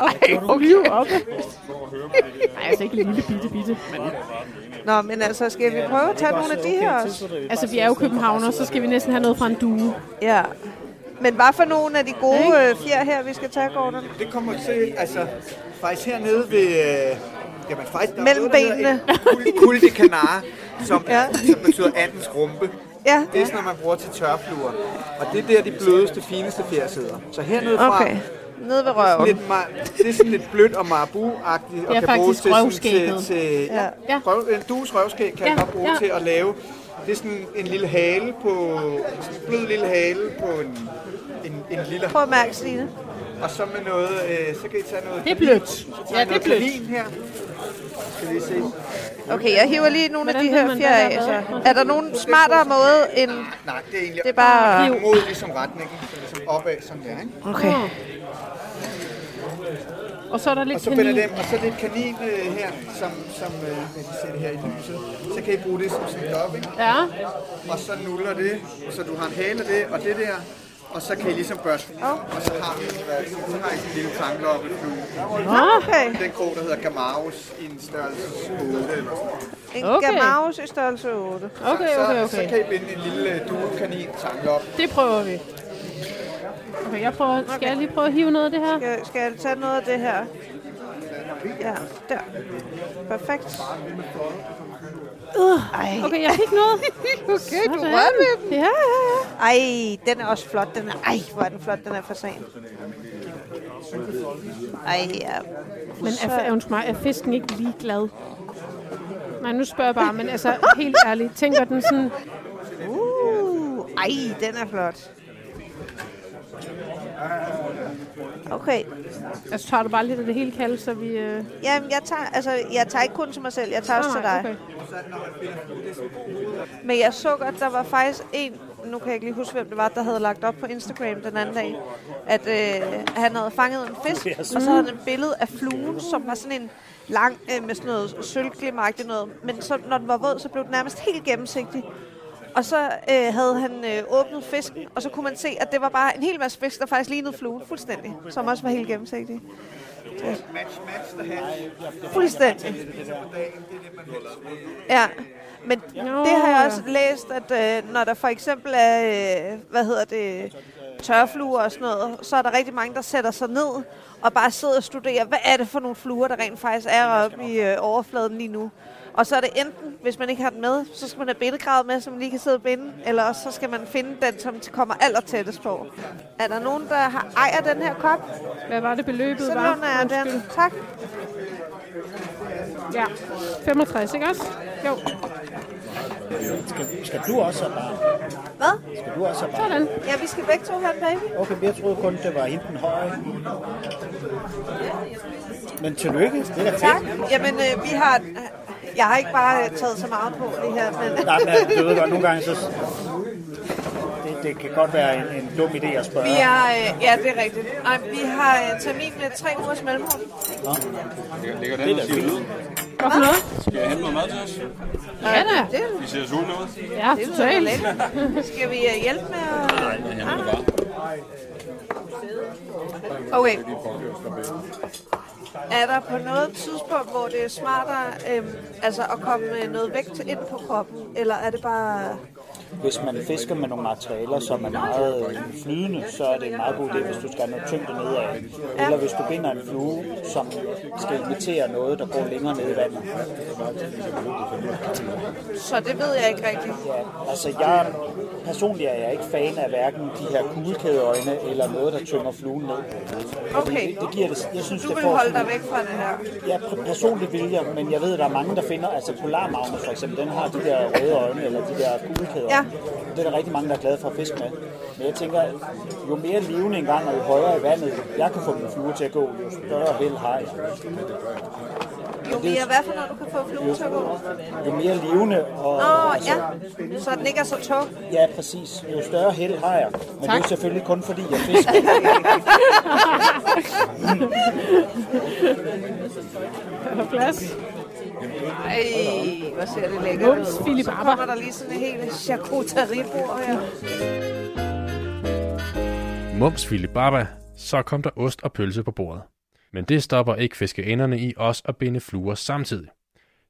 Speaker 4: Ej, okay. op. Nej, altså ikke en lille bitte bitte. Men,
Speaker 2: Nå, men altså, skal vi prøve at tage nogle af de her også?
Speaker 4: altså, vi er jo københavner, så skal vi næsten have noget fra en due.
Speaker 2: Ja. Men hvad for nogle af de gode øh, fjer her, vi skal tage, Gordon?
Speaker 6: Det kommer til, altså, faktisk hernede ved... Øh, jamen, faktisk, der er
Speaker 2: Mellem
Speaker 6: noget, der hedder
Speaker 2: benene.
Speaker 6: et Cul, cul de canard, som,
Speaker 2: Ja.
Speaker 6: ja. som betyder andens rumpe.
Speaker 2: Ja,
Speaker 6: Det er sådan, noget, man bruger til tørfluer. Og det er der, de blødeste, fineste fjer sidder. Så hernede fra,
Speaker 2: okay.
Speaker 6: okay.
Speaker 2: Ned ved røven.
Speaker 6: lidt mar- det er sådan lidt blødt og marabu-agtigt,
Speaker 4: Det er
Speaker 6: og kan bruges
Speaker 4: faktisk
Speaker 6: til, sådan, til,
Speaker 4: røvskægget.
Speaker 6: til
Speaker 2: Ja.
Speaker 6: ja.
Speaker 4: Ja.
Speaker 6: Røv, en dues røvskæg kan
Speaker 4: Ja,
Speaker 6: ja. godt bruge
Speaker 4: ja.
Speaker 6: ja. til at lave. Det er sådan en lille hale på, sådan en blød lille hale på en, en, en lille
Speaker 2: Prøv at mærke, Stine.
Speaker 6: og så med noget, øh, så kan I tage noget...
Speaker 4: Det er blødt.
Speaker 6: Ja, det er blødt. Kanin her. Skal vi se.
Speaker 2: Okay, jeg hiver lige nogle af
Speaker 4: Hvordan
Speaker 2: de
Speaker 4: ved
Speaker 2: her
Speaker 4: man,
Speaker 2: fjer
Speaker 4: hvad der
Speaker 2: af.
Speaker 4: er
Speaker 2: Så.
Speaker 4: hvad?
Speaker 2: Er der nogen smartere måde end...
Speaker 6: Nej, det er egentlig...
Speaker 2: Det er bare-
Speaker 6: Mod ligesom retningen, så ligesom opad, som det er, ikke?
Speaker 2: Okay.
Speaker 4: Og så er der
Speaker 6: Og
Speaker 4: lidt
Speaker 6: så binder
Speaker 4: kanin.
Speaker 6: dem, og så lidt kanin øh, her, som, som øh, hvis I ser det her i lyset. Så kan I bruge det som sådan op, ikke?
Speaker 4: Ja,
Speaker 6: Og så nuller det, så du har en hale af det, og det der. Og så kan I ligesom børste den. Og så har vi, så har I sådan en lille tangloppe nu.
Speaker 2: Okay.
Speaker 6: Den krog, der hedder Gamarus, i en størrelse 8 eller sådan noget.
Speaker 2: En
Speaker 4: Okay.
Speaker 2: gamaus i størrelse 8.
Speaker 4: okay, okay,
Speaker 6: Så, så
Speaker 4: okay.
Speaker 6: kan I binde en lille øh, duekanin tanglop
Speaker 4: Det prøver vi. Okay, jeg prøver, skal jeg lige prøve at hive noget af det her?
Speaker 2: Skal, skal jeg tage noget af det her? Ja, der. Perfekt. Ej,
Speaker 4: Okay, jeg fik noget.
Speaker 2: okay, du
Speaker 4: Sådan.
Speaker 2: rørte ved den.
Speaker 4: Ja, ja, ja.
Speaker 2: Ej, den er også flot. Den er, ej, hvor er den flot, den er fasan. Ej, ja.
Speaker 4: Men er, undskyld mig, er fisken ikke ligeglad? Nej, nu spørger jeg bare, men altså helt ærligt, tænker den sådan,
Speaker 2: Uh, ej, den er flot. Okay.
Speaker 4: altså tager du bare lidt af det hele kalde, så vi... Øh...
Speaker 2: Jamen, jeg tager, altså, jeg tager ikke kun til mig selv, jeg tager også til dig.
Speaker 4: okay.
Speaker 2: Men jeg så godt, der var faktisk en, nu kan jeg ikke lige huske, hvem det var, der havde lagt op på Instagram den anden dag, at øh, han havde fanget en fisk, og så havde han et billede af fluen, som var sådan en lang, øh, med sådan noget sølvglimagtigt noget, men så, når den var våd, så blev den nærmest helt gennemsigtig. Og så øh, havde han øh, åbnet fisken, og så kunne man se, at det var bare en hel masse fisk, der faktisk lignede fluen fuldstændig, som også var helt gennemsigtig. Fuldstændig. Ja, men det har jeg også læst, at øh, når der for eksempel er, øh, hvad hedder det, tørfluer og sådan noget, så er der rigtig mange, der sætter sig ned og bare sidder og studerer, hvad er det for nogle fluer, der rent faktisk er oppe i øh, overfladen lige nu. Og så er det enten, hvis man ikke har den med, så skal man have bindegravet med, så man lige kan sidde og binde, eller også så skal man finde den, som kommer allertættest på. Er der nogen, der har, ejer den her kop?
Speaker 4: Hvad var det beløbet
Speaker 2: Så
Speaker 4: var?
Speaker 2: låner jeg den.
Speaker 4: Undskyld.
Speaker 2: Tak.
Speaker 4: Ja, 65, ikke også? Jo,
Speaker 9: Skal, skal du også have barn?
Speaker 2: Hvad?
Speaker 9: Skal du også have barn?
Speaker 4: sådan.
Speaker 2: Ja, vi skal begge to have en baby.
Speaker 9: Okay, men jeg troede kun, det var hende den høje. Men tillykke, det er da
Speaker 2: Tak.
Speaker 9: fedt.
Speaker 2: Jamen, øh, vi har... Jeg har ikke bare øh, taget så meget på det her, men...
Speaker 9: Nej, men altså, du ved godt, nogle gange så... Det, det kan godt være en, en dum idé at spørge.
Speaker 2: Vi har, øh, ja, det er rigtigt. Nej, vi har øh, termin med tre ugers mellemrum.
Speaker 7: Ligger den og siger lyd?
Speaker 4: Hvorfor noget?
Speaker 7: Skal jeg hente noget mad til os?
Speaker 4: Ja, da.
Speaker 2: Det,
Speaker 7: Vi ser sultne ud.
Speaker 4: Ja,
Speaker 2: det lyder da
Speaker 4: totalt.
Speaker 2: lækkert. Skal vi øh, hjælpe med at...
Speaker 7: Nej, jeg henter det bare.
Speaker 2: Okay. Er der på noget tidspunkt, hvor det er øhm, smartere øh, altså at komme øh, noget vægt ind på kroppen, eller er det bare...
Speaker 9: hvis man fisker med nogle materialer, som er meget øh, flydende, så er det en meget god idé, hvis du skal have noget tyngde nedad. Eller hvis du binder en flue, som skal imitere noget, der går længere ned i vandet.
Speaker 1: Så det ved jeg ikke rigtigt.
Speaker 9: Ja, altså jeg, personligt er jeg ikke fan af hverken de her kuglekædeøjne eller noget, der tynger fluen ned.
Speaker 1: Okay.
Speaker 9: Det, det giver det, jeg synes,
Speaker 1: Du
Speaker 9: det
Speaker 1: vil
Speaker 9: får
Speaker 1: holde
Speaker 9: sådan-
Speaker 1: dig væk fra det her.
Speaker 9: Ja, pr- personligt vil jeg, men jeg ved, at der er mange, der finder, altså polarmagne for eksempel, den har de der røde øjne, eller de der gulekæder.
Speaker 1: Ja.
Speaker 9: Det er der rigtig mange, der er glade for at fiske med. Men jeg tænker, jo mere levende engang, og jo højere i vandet, jeg kan få min flue til at gå, jo større held har jeg.
Speaker 1: Jo mere, hvad for noget du kan få fluen til at gå?
Speaker 9: Jo mere levende, og
Speaker 1: Nå, ja. Så den ikke er så tung.
Speaker 9: ja, præcis, jo større held har jeg. Men det er jo selvfølgelig kun fordi, jeg fisker.
Speaker 10: Er der plads?
Speaker 1: Ej, hvor ser det lækkert ud.
Speaker 10: Philip
Speaker 1: Så kommer der lige sådan en helt charcuteribord her.
Speaker 3: Mums Filibaba, så kom der ost og pølse på bordet. Men det stopper ikke fiskeenderne i os at binde fluer samtidig.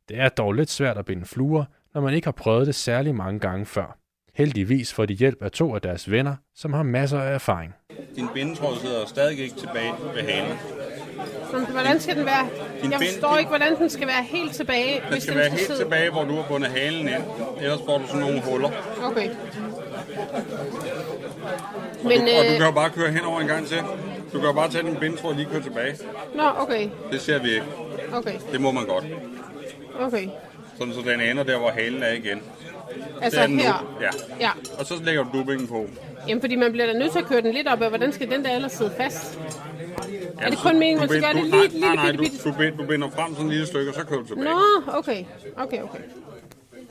Speaker 3: Det er dog lidt svært at binde fluer, når man ikke har prøvet det særlig mange gange før. Heldigvis får de hjælp af to af deres venner, som har masser af erfaring.
Speaker 7: Din bindetråd sidder stadig ikke tilbage ved halen.
Speaker 4: Sådan, hvordan skal den være?
Speaker 7: Din
Speaker 4: Jeg
Speaker 7: ben-
Speaker 4: forstår
Speaker 7: din-
Speaker 4: ikke, hvordan den skal være helt tilbage,
Speaker 7: Den
Speaker 4: hvis
Speaker 7: skal være helt
Speaker 4: sidde-
Speaker 7: tilbage, hvor du har bundet halen ind. Ellers får du sådan nogle huller.
Speaker 4: Okay. Men,
Speaker 7: Men, og, du, og du
Speaker 4: øh,
Speaker 7: kan jo bare køre henover en gang til. Du kan jo bare tage din bindetråd og lige køre tilbage.
Speaker 4: Nå, okay,
Speaker 7: Det ser vi ikke.
Speaker 4: okay,
Speaker 7: Det må man godt.
Speaker 4: okay.
Speaker 7: Sådan så den ender der, hvor halen er igen.
Speaker 4: Altså
Speaker 7: det er den
Speaker 4: her.
Speaker 7: nu. Ja.
Speaker 4: Ja,
Speaker 7: Og så lægger du dubbingen på.
Speaker 4: jamen fordi man bliver da nødt til at køre den lidt op, og hvordan skal den der ellers sidde fast?
Speaker 7: Ja,
Speaker 4: Er det
Speaker 7: så
Speaker 4: kun meningen,
Speaker 7: du
Speaker 4: man skal
Speaker 7: bind-
Speaker 4: gøre det
Speaker 7: du-
Speaker 4: lige- lille
Speaker 7: nej, nej,
Speaker 4: bitte,
Speaker 7: du,
Speaker 4: bitte-
Speaker 7: du, bind- du binder frem sådan en lille stykke, og så kører du tilbage.
Speaker 4: Nå, okay, okay, okay. Jamen,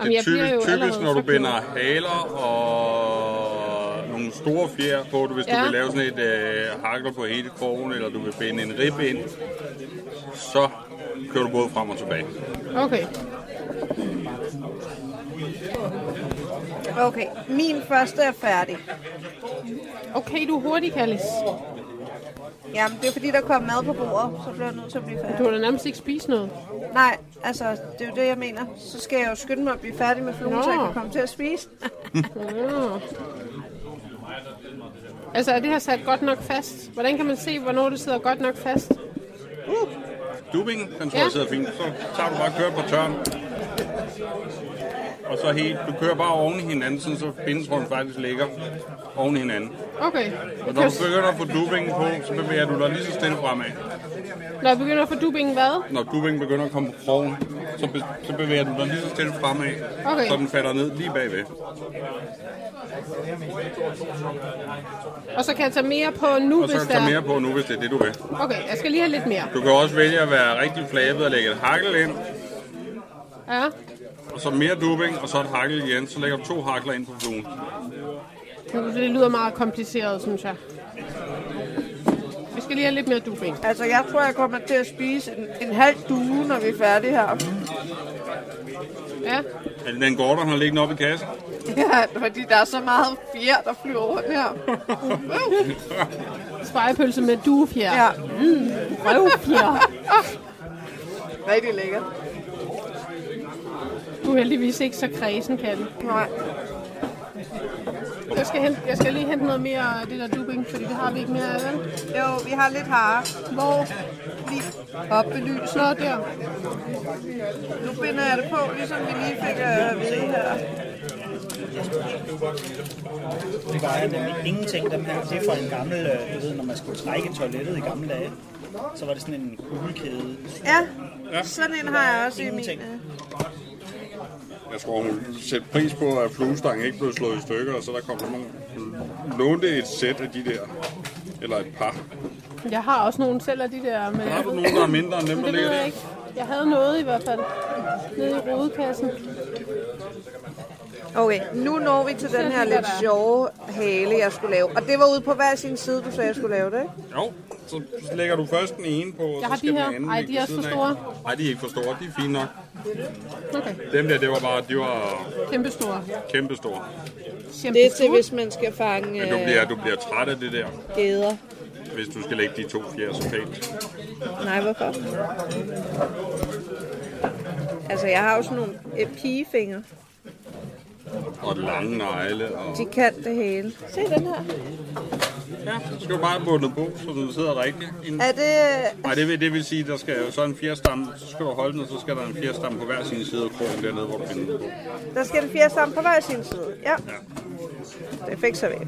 Speaker 7: Det er
Speaker 4: jeg bliver
Speaker 7: typisk,
Speaker 4: jo
Speaker 7: typisk
Speaker 4: allerede
Speaker 7: når du
Speaker 4: så klog.
Speaker 7: binder haler og nogle store fjer på, du- hvis
Speaker 4: Ja.
Speaker 7: du vil lave sådan et øh, hakler på hele krogen, eller du vil binde en ribbe ind, så kører du både frem og tilbage.
Speaker 4: Okay,
Speaker 1: Okay, min første er færdig.
Speaker 4: okay, du er hurtig, Kallis.
Speaker 1: Jamen, det er fordi, der kom mad på bordet, så bliver jeg nødt til at blive
Speaker 4: Du
Speaker 1: færdig.
Speaker 4: har da nærmest ikke spist noget.
Speaker 1: Nej, altså, det er jo det, jeg mener. Så skal jeg jo skynde mig at blive færdig med fluen,
Speaker 4: Nå.
Speaker 1: så jeg kan komme til at spise.
Speaker 4: Ah. Altså, er det her sat godt nok fast? Hvordan kan man se, hvornår det sidder godt nok fast?
Speaker 7: Dubbingen, den tror
Speaker 4: Ja.
Speaker 7: jeg sidder fint. Så tager du bare kører på tørn. Og så helt, du kører bare oven i hinanden, sådan så bindetråden faktisk ligger oven i hinanden.
Speaker 4: Okay.
Speaker 7: Og når du begynder at få dubbingen på, så bevæger du dig lige så stille fremad.
Speaker 4: Når jeg begynder at få dubbingen hvad?
Speaker 7: Når dubbingen begynder at komme på krogen, så, be- så bevæger du dig lige så stille fremad,
Speaker 4: Okay.
Speaker 7: så den falder ned lige bagved.
Speaker 4: Og så kan jeg tage mere på nu,
Speaker 7: Og
Speaker 4: hvis
Speaker 7: så
Speaker 4: der...
Speaker 7: tager mere på nu, hvis det er det, du vil.
Speaker 4: Okay, jeg skal lige have lidt mere.
Speaker 7: Du kan også vælge at være rigtig flabet og lægge et hakkel ind,
Speaker 4: Ja.
Speaker 7: og så mere dubbing, og så et hakkel igen. Så lægger du to hakler ind på fluen.
Speaker 4: Det lyder meget kompliceret, synes jeg. Vi skal lige have lidt mere dubbing.
Speaker 1: Altså, jeg tror, jeg kommer til at spise en, en halv due, når vi er færdige her.
Speaker 4: Ja.
Speaker 7: Er det den gård, der har liggende oppe i kassen?
Speaker 1: Ja, fordi der er så meget fjer, der flyver rundt her.
Speaker 4: Spejepølse med duefjer. Mm.
Speaker 1: Ja,
Speaker 4: Røvfjer.
Speaker 1: rigtig lækkert.
Speaker 4: Du er heldigvis ikke så kredsen, kan den.
Speaker 1: Nej.
Speaker 4: jeg skal, hente, jeg skal lige hente noget mere af det der dubbing, fordi det har vi ikke mere af, vel?
Speaker 1: Jo, vi har lidt hare. Hvor? Lige op belys.
Speaker 4: Nå, der.
Speaker 1: Nu binder jeg det på, ligesom vi lige fik øh, at vide her.
Speaker 9: Det vejer nemlig ingenting, dem her. Det er fra en gammel, øh, du ved, når man skulle trække toilettet i gamle dage, så var det sådan en kuglekæde.
Speaker 1: Ja, sådan en har jeg også i min.
Speaker 9: Ingenting.
Speaker 1: øh.
Speaker 7: Jeg tror, hun sætter pris på, at fluestangen ikke blev slået i stykker, og så der kom nogen. Hun lånte et sæt af de der, eller et par.
Speaker 4: Jeg har også nogle selv af de der, men
Speaker 7: Har du nogen, der er mindre end dem, der
Speaker 4: det
Speaker 7: ligger
Speaker 4: ved
Speaker 7: der?
Speaker 4: jeg ikke. Jeg havde noget i hvert fald nede i rodekassen.
Speaker 1: Okay, nu når vi til den her lidt sjove hale, jeg skulle lave. Og det var ude på hver sin side, du sagde, jeg skulle lave det, ikke?
Speaker 7: Jo, så lægger du først den ene på, og
Speaker 4: Jeg
Speaker 7: så
Speaker 4: har de
Speaker 7: skal den
Speaker 4: her.
Speaker 7: anden
Speaker 4: Ej,
Speaker 7: ligge
Speaker 4: de er
Speaker 7: ved
Speaker 4: også for
Speaker 7: siden af.
Speaker 4: store.
Speaker 7: Nej, de er ikke for store. De er fine nok.
Speaker 4: Okay,
Speaker 7: Dem der, det var bare, de var
Speaker 4: kæmpestore.
Speaker 7: kæmpestore.
Speaker 1: hvis man skal fange øh,
Speaker 7: Men du bliver, du bliver træt af det der,
Speaker 1: geder.
Speaker 7: hvis du skal lægge de to fjer så pænt.
Speaker 1: Nej, hvorfor? Altså, jeg har jo sådan nogle øh, pigefingre.
Speaker 7: og lange negle. Og...
Speaker 2: De kan det hele.
Speaker 11: Se den her.
Speaker 7: Ja, så skal du bare have bundet på, så den sidder rigtigt. En...
Speaker 2: Er det...
Speaker 7: Nej, det vil, det vil sige, at der skal jo så en fjerstamme, så skal du holde den, og så skal der en fjerstamme på hver sin side af krogen dernede, hvor du finder den på.
Speaker 2: Der skal den fire sammen på hver sin side. Ja. Det fik så vi.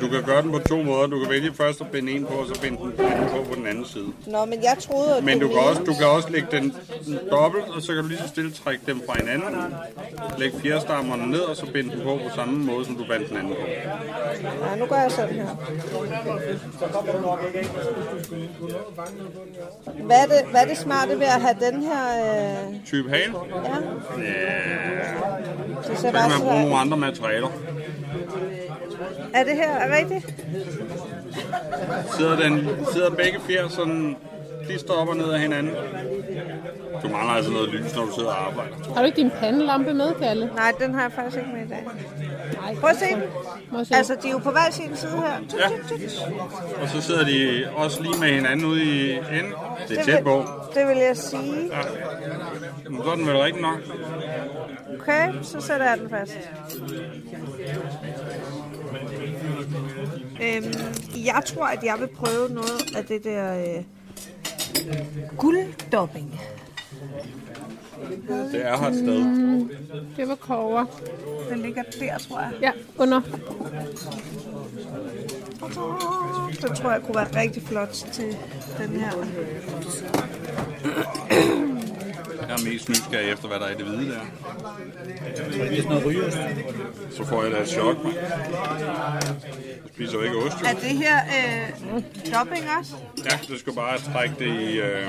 Speaker 7: Du kan gøre den på to måder. Du kan vælge først at binde en på, og så binde den anden på på den anden side.
Speaker 2: Nå, men jeg troede, at
Speaker 7: Men
Speaker 2: det
Speaker 7: du kan,
Speaker 2: mente-
Speaker 7: også, du kan også lægge den dobbelt, og så kan du lige så stille trække dem fra hinanden. Læg fjerstammerne ned, og så binde den på på samme måde, som du bandt den anden på.
Speaker 2: Nej, nu gør jeg sådan her. Hvad er det, hvad er det smarte ved at have den her... Øh...
Speaker 7: Type hale?
Speaker 2: Ja,
Speaker 7: Ja,
Speaker 2: så
Speaker 7: så
Speaker 2: ser
Speaker 7: kan
Speaker 2: bare
Speaker 7: man bruge
Speaker 2: sådan
Speaker 7: nogle
Speaker 2: her.
Speaker 7: andre materialer.
Speaker 2: Er det her rigtigt?
Speaker 7: Sidder, den, sidder begge fjer sådan klister op og ned af hinanden. Du mangler altså noget lys, når du sidder og arbejder.
Speaker 4: Har du ikke din pandelampe med, Kalle?
Speaker 2: Nej, den har jeg faktisk ikke med i dag.
Speaker 4: Nej.
Speaker 2: Prøv at se.
Speaker 4: Må jeg se?
Speaker 2: Altså, de er jo på hver sin side her. Tut,
Speaker 7: Ja.
Speaker 2: tut, tut.
Speaker 7: Og så sidder de også lige med hinanden ude i enden. Det er tæt på.
Speaker 2: det vil jeg sige.
Speaker 7: Men så er den vel rigtig nok.
Speaker 2: Okay, så sætter jeg den fast. Øhm, jeg tror, at jeg vil prøve noget af det der øh, gulddopping.
Speaker 7: Det er her et sted.
Speaker 4: Det var kover.
Speaker 2: Den ligger der, tror jeg.
Speaker 4: Ja, under.
Speaker 2: Så tror jeg, kunne være rigtig flot til den her.
Speaker 7: Jeg er mest nysgerrig efter, hvad der er i det hvide der.
Speaker 9: Det er sådan noget rygeost.
Speaker 7: Så får jeg da et chok, mand. Jeg spiser jo ikke ost, jo.
Speaker 2: Er det her øh, dopping også?
Speaker 7: Ja, du skal bare trække det i... Øh...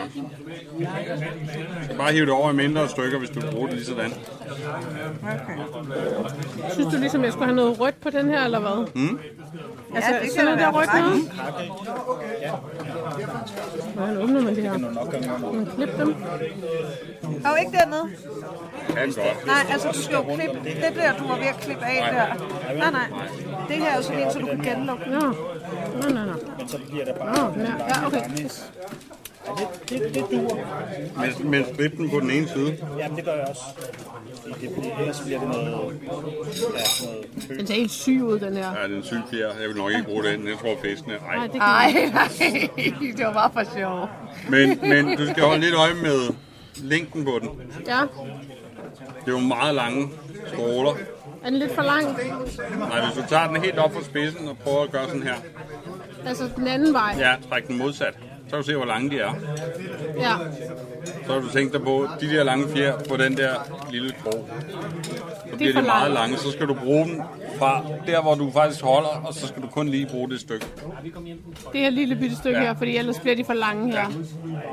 Speaker 7: Du skal bare hive det over i mindre stykker, hvis du vil bruge det lige sådan.
Speaker 2: Okay.
Speaker 4: Synes du ligesom, jeg skulle have noget rødt på den her, eller hvad? Mm. Altså,
Speaker 2: Ja,
Speaker 4: ja,
Speaker 2: det
Speaker 4: det
Speaker 2: kan
Speaker 4: sådan noget
Speaker 2: da
Speaker 4: der
Speaker 2: være
Speaker 4: rødt noget? Hvordan åbner man det her? Man klipper dem.
Speaker 2: Og ikke dernede.
Speaker 7: Kan godt.
Speaker 2: Nej, altså du skal jo klippe. Det der, du var ved at klippe af der. Nej, nej. Det her er jo sådan en, så du kan genlukke.
Speaker 4: Nå, nå, nå, nå.
Speaker 9: Men så bliver der bare...
Speaker 4: Nå, ja, ja, okay.
Speaker 9: Det, det, det duer.
Speaker 7: Men, men strip den på den ene side.
Speaker 9: Jamen, det gør jeg også. Fordi det, fordi ellers bliver det noget... Ja, noget kø.
Speaker 4: Den ser helt syg ud, den her.
Speaker 7: Ja, det er en syg fjer. Jeg vil nok ikke bruge den. Jeg tror, festen er...
Speaker 4: Nej,
Speaker 7: Ej.
Speaker 4: det kan jeg ikke. [LAUGHS]
Speaker 2: det var bare for sjov.
Speaker 7: Men, men du skal holde lidt øje med længden på den.
Speaker 4: Ja,
Speaker 7: Det er jo meget lange stråler.
Speaker 4: er den lidt for lang?
Speaker 7: Nej, hvis du tager den helt op fra spidsen og prøver at gøre sådan her.
Speaker 4: Altså, den anden vej.
Speaker 7: Ja, træk den modsat. Så kan du se, hvor lange de er.
Speaker 4: Ja.
Speaker 7: Så har du tænkt dig på de der lange fjer på den der lille krog. Så bliver de
Speaker 4: for
Speaker 7: meget
Speaker 4: langt.
Speaker 7: lange, så skal du bruge dem fra der, hvor du faktisk holder, og så skal du kun lige bruge det stykke.
Speaker 4: Det her lille bitte stykke
Speaker 7: Ja.
Speaker 4: ja. her, fordi ellers bliver de for lange her.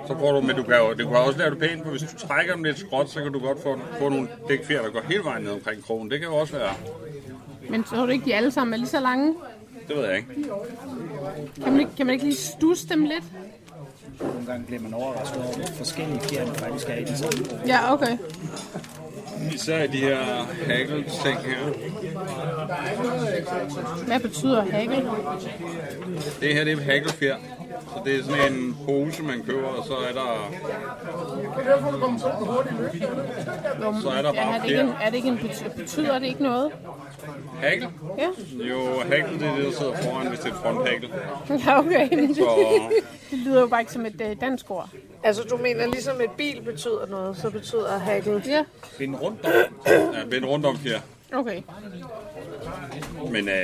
Speaker 7: Så bruger du, men du kan jo, det kan også lave det pænt, for hvis du trækker dem lidt skråt, så kan du godt få, få nogle dækfjer, der går hele vejen ned omkring krogen. Det kan jo også være,
Speaker 4: Men tror du ikke, de alle sammen er lige så lange?
Speaker 7: det ved jeg ikke.
Speaker 4: Kan man ikke, kan man ikke lige stusse dem lidt?
Speaker 9: Nogle gange bliver man overrasket over, hvor forskellige fjerne faktisk er i den samme gruppe.
Speaker 4: Ja, okay.
Speaker 7: Især i de her haggle-ting her.
Speaker 4: Hvad betyder hagel?
Speaker 7: Det her, det er hagglefjer. Så det er sådan en pose, man køber, og så er der... Så er der
Speaker 4: Ja,
Speaker 7: bare
Speaker 4: er det ikke en,
Speaker 7: flere.
Speaker 4: er det ikke en bety- betyder det ikke noget?
Speaker 7: Haggle?
Speaker 4: Ja,
Speaker 7: Jo, haggle, det er det, der sidder foran, hvis det er et fronthaggle.
Speaker 4: [LAUGHS] ja okay.
Speaker 7: Så
Speaker 4: Det lyder jo bare ikke som et øh, dansk ord.
Speaker 2: Altså du mener, ligesom et bil betyder noget, så betyder hacket.
Speaker 4: Ja,
Speaker 9: Bind rundt om.
Speaker 7: ja, vend rundt om fjer.
Speaker 4: okay.
Speaker 7: Men øh,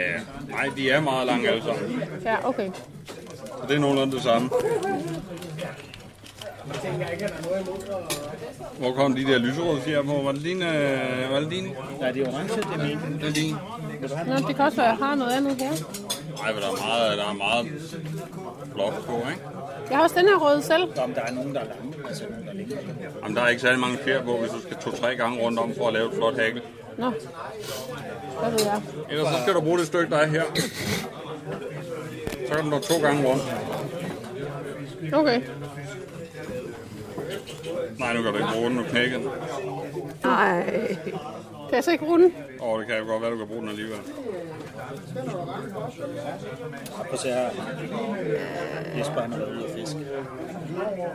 Speaker 7: nej, de er meget lange alle sammen.
Speaker 4: Ja, okay.
Speaker 7: Så det er nogenlunde det samme. Hvor kom de der lyserøde fjer på? Var det din? Øh, var det din?
Speaker 9: Nej, det er orange, det er min.
Speaker 7: Det er din.
Speaker 4: Nå, det kan også være, at jeg har noget andet her.
Speaker 7: Nej, men der er meget, der er meget blåt på, ikke?
Speaker 4: Jeg har også den her røde selv.
Speaker 9: Nå, men der er nogen, der er lange. Altså, nogen, der er længere.
Speaker 7: Jamen, der er ikke særlig mange fjer på, hvis du skal to-tre gange rundt om for at lave et flot hækkel.
Speaker 4: Nå, hvad ved jeg.
Speaker 7: Ellers så skal du bruge det stykke, der er her. Så kan du nå to gange rundt.
Speaker 4: Okay.
Speaker 7: Nej, nu kan du ikke bruge den, nu knækker den.
Speaker 2: Nej.
Speaker 4: Kan jeg så ikke runde?
Speaker 7: Øh. Åh, det kan jo godt være, du kan bruge den alligevel.
Speaker 9: Prøv at se her. Jesper han har været ude at fiske.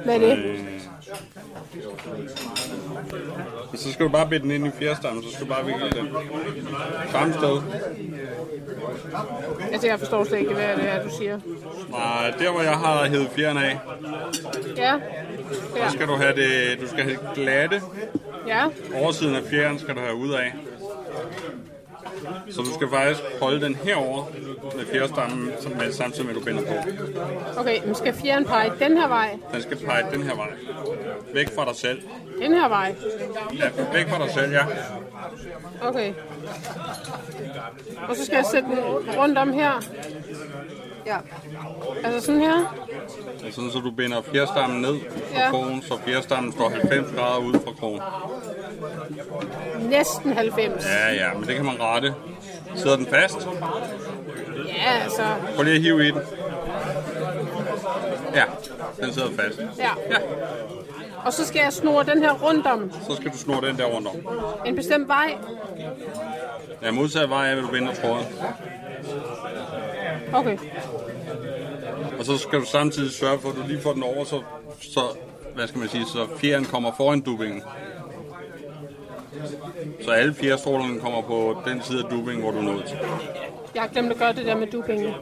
Speaker 4: Hvad er det?
Speaker 7: Men så skal du bare bede den ind i fjerdstammen, så skal du bare vikle den. Samme sted.
Speaker 2: Altså, jeg forstår slet ikke, hvad det er, du siger.
Speaker 7: Nej, der hvor jeg har hævet fjeren af,
Speaker 2: Ja.
Speaker 7: så skal du have det, du skal have det glatte.
Speaker 2: Ja.
Speaker 7: Oversiden af fjeren skal du have ud af. Så du skal faktisk holde den herover med fjerstammen, som- med- samtidig med at du binder på.
Speaker 2: Okay, men skal fjeren pege den her vej?
Speaker 7: Den skal pege den her vej. Væk fra dig selv.
Speaker 2: Den her vej?
Speaker 7: Ja, væk fra dig selv, ja.
Speaker 2: Okay. Og så skal jeg sætte den rundt om her.
Speaker 1: Ja.
Speaker 2: Altså sådan her?
Speaker 7: Sådan så du binder fjerstammen ned fra
Speaker 2: Ja.
Speaker 7: krogen, så fjerstammen står 90 grader ud fra krogen.
Speaker 2: Næsten 90.
Speaker 7: Ja, ja, men det kan man rette. Sidder den fast?
Speaker 2: Ja, altså.
Speaker 7: Prøv lige at hive i den. Ja, den sidder fast.
Speaker 2: Ja. Og så skal jeg snurre den her rundt om
Speaker 7: Så skal du snurre den der rundt om.
Speaker 2: en bestemt vej.
Speaker 7: Ja, modsat vej er, vil du binde tråden.
Speaker 2: Okay.
Speaker 7: Og så skal du samtidig sørge for, at du lige får den over, så, så hvad skal man sige, så fjeren kommer foran dubbingen. Så alle fjerstrålerne kommer på den side af dubbingen, hvor du er nået til.
Speaker 2: Jeg har glemt at gøre det der med dupingen. Jeg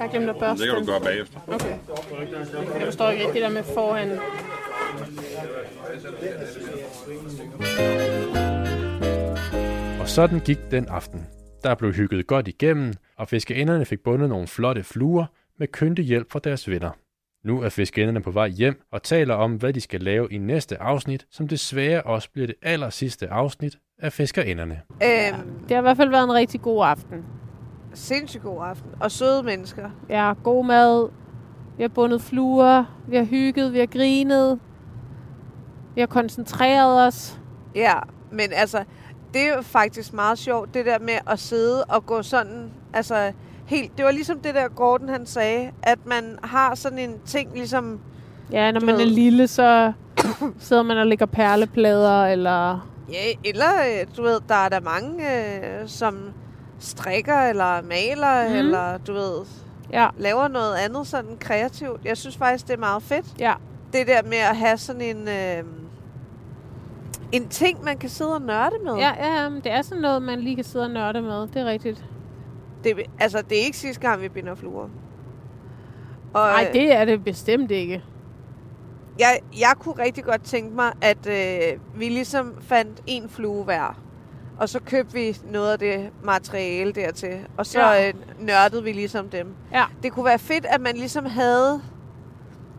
Speaker 2: har glemt at børste
Speaker 7: Det kan du
Speaker 2: den.
Speaker 7: gøre bagefter.
Speaker 2: Okay. Jeg forstår ikke det der med foran.
Speaker 3: Og sådan gik den aften. Der blev hygget godt igennem, og fiskeenderne fik bundet nogle flotte fluer med kyndig hjælp fra deres venner. Nu er fiskeenderne på vej hjem og taler om, hvad de skal lave i næste afsnit, som desværre også bliver det aller sidste afsnit af Fiskerinderne.
Speaker 1: Øhm,
Speaker 4: Det har i hvert fald været en rigtig god aften.
Speaker 1: sindssygt god aften. Og søde mennesker.
Speaker 4: Ja, god mad. Vi har bundet fluer. Vi har hygget. Vi har grinet. Vi har koncentreret os.
Speaker 1: Ja, men altså, det er jo faktisk meget sjovt, det der med at sidde og gå sådan, altså helt, det var ligesom det der Gordon han sagde, at man har sådan en ting ligesom,
Speaker 4: Ja, når
Speaker 1: Du
Speaker 4: man
Speaker 1: ved.
Speaker 4: er lille, så sidder man og lægger perleplader, eller...
Speaker 1: ja, eller øh, du ved, der er der mange, øh, som strikker eller maler, mm.
Speaker 4: Mhm.
Speaker 1: eller du ved,
Speaker 4: Ja,
Speaker 1: laver noget andet sådan kreativt. Jeg synes faktisk, det er meget fedt.
Speaker 4: ja.
Speaker 1: Det der med at have sådan en, øh, en ting, man kan sidde og nørde med.
Speaker 4: Ja, ja, ja, men det er sådan noget, man lige kan sidde og nørde med. Det er rigtigt.
Speaker 1: Det, altså, det er ikke sidste gang, vi binder fluer. Og,
Speaker 4: Nej, det er det bestemt ikke.
Speaker 1: jeg, jeg kunne rigtig godt tænke mig, at øh, vi ligesom fandt en flue hver. Og så købte vi noget af det materiale dertil. Og så ja.
Speaker 4: Ja.
Speaker 1: øh, nørdede vi ligesom dem.
Speaker 4: Ja.
Speaker 1: Det kunne være fedt, at man ligesom havde...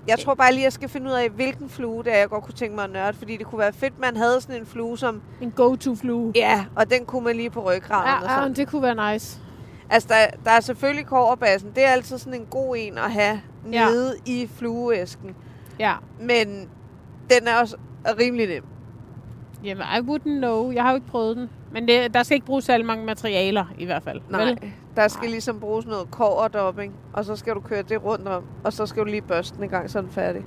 Speaker 1: Jeg tror bare lige, jeg skal finde ud af, hvilken flue det er, jeg godt kunne tænke mig at nørde. Fordi det kunne være fedt, man havde sådan en flue, som...
Speaker 4: En go-to-flue.
Speaker 1: Ja, altså- og den kunne man lige på ryggraden. og
Speaker 4: Ja, ja,
Speaker 1: sådan.
Speaker 4: men det kunne være nice.
Speaker 1: Altså, der, der er selvfølgelig kårbassen. Det er altid sådan en god en at have
Speaker 4: Ja.
Speaker 1: nede i flueæsken.
Speaker 4: Ja.
Speaker 1: Men den er også rimelig nem.
Speaker 4: Jamen, I wouldn't know. Jeg har jo ikke prøvet den. Men det, der skal ikke bruges særlig mange materialer, i hvert fald.
Speaker 1: Nej,
Speaker 4: Vel?
Speaker 1: der skal ligesom bruges noget koverdopping, og så skal du køre det rundt om, og så skal du lige børste den en gang, så er den færdig.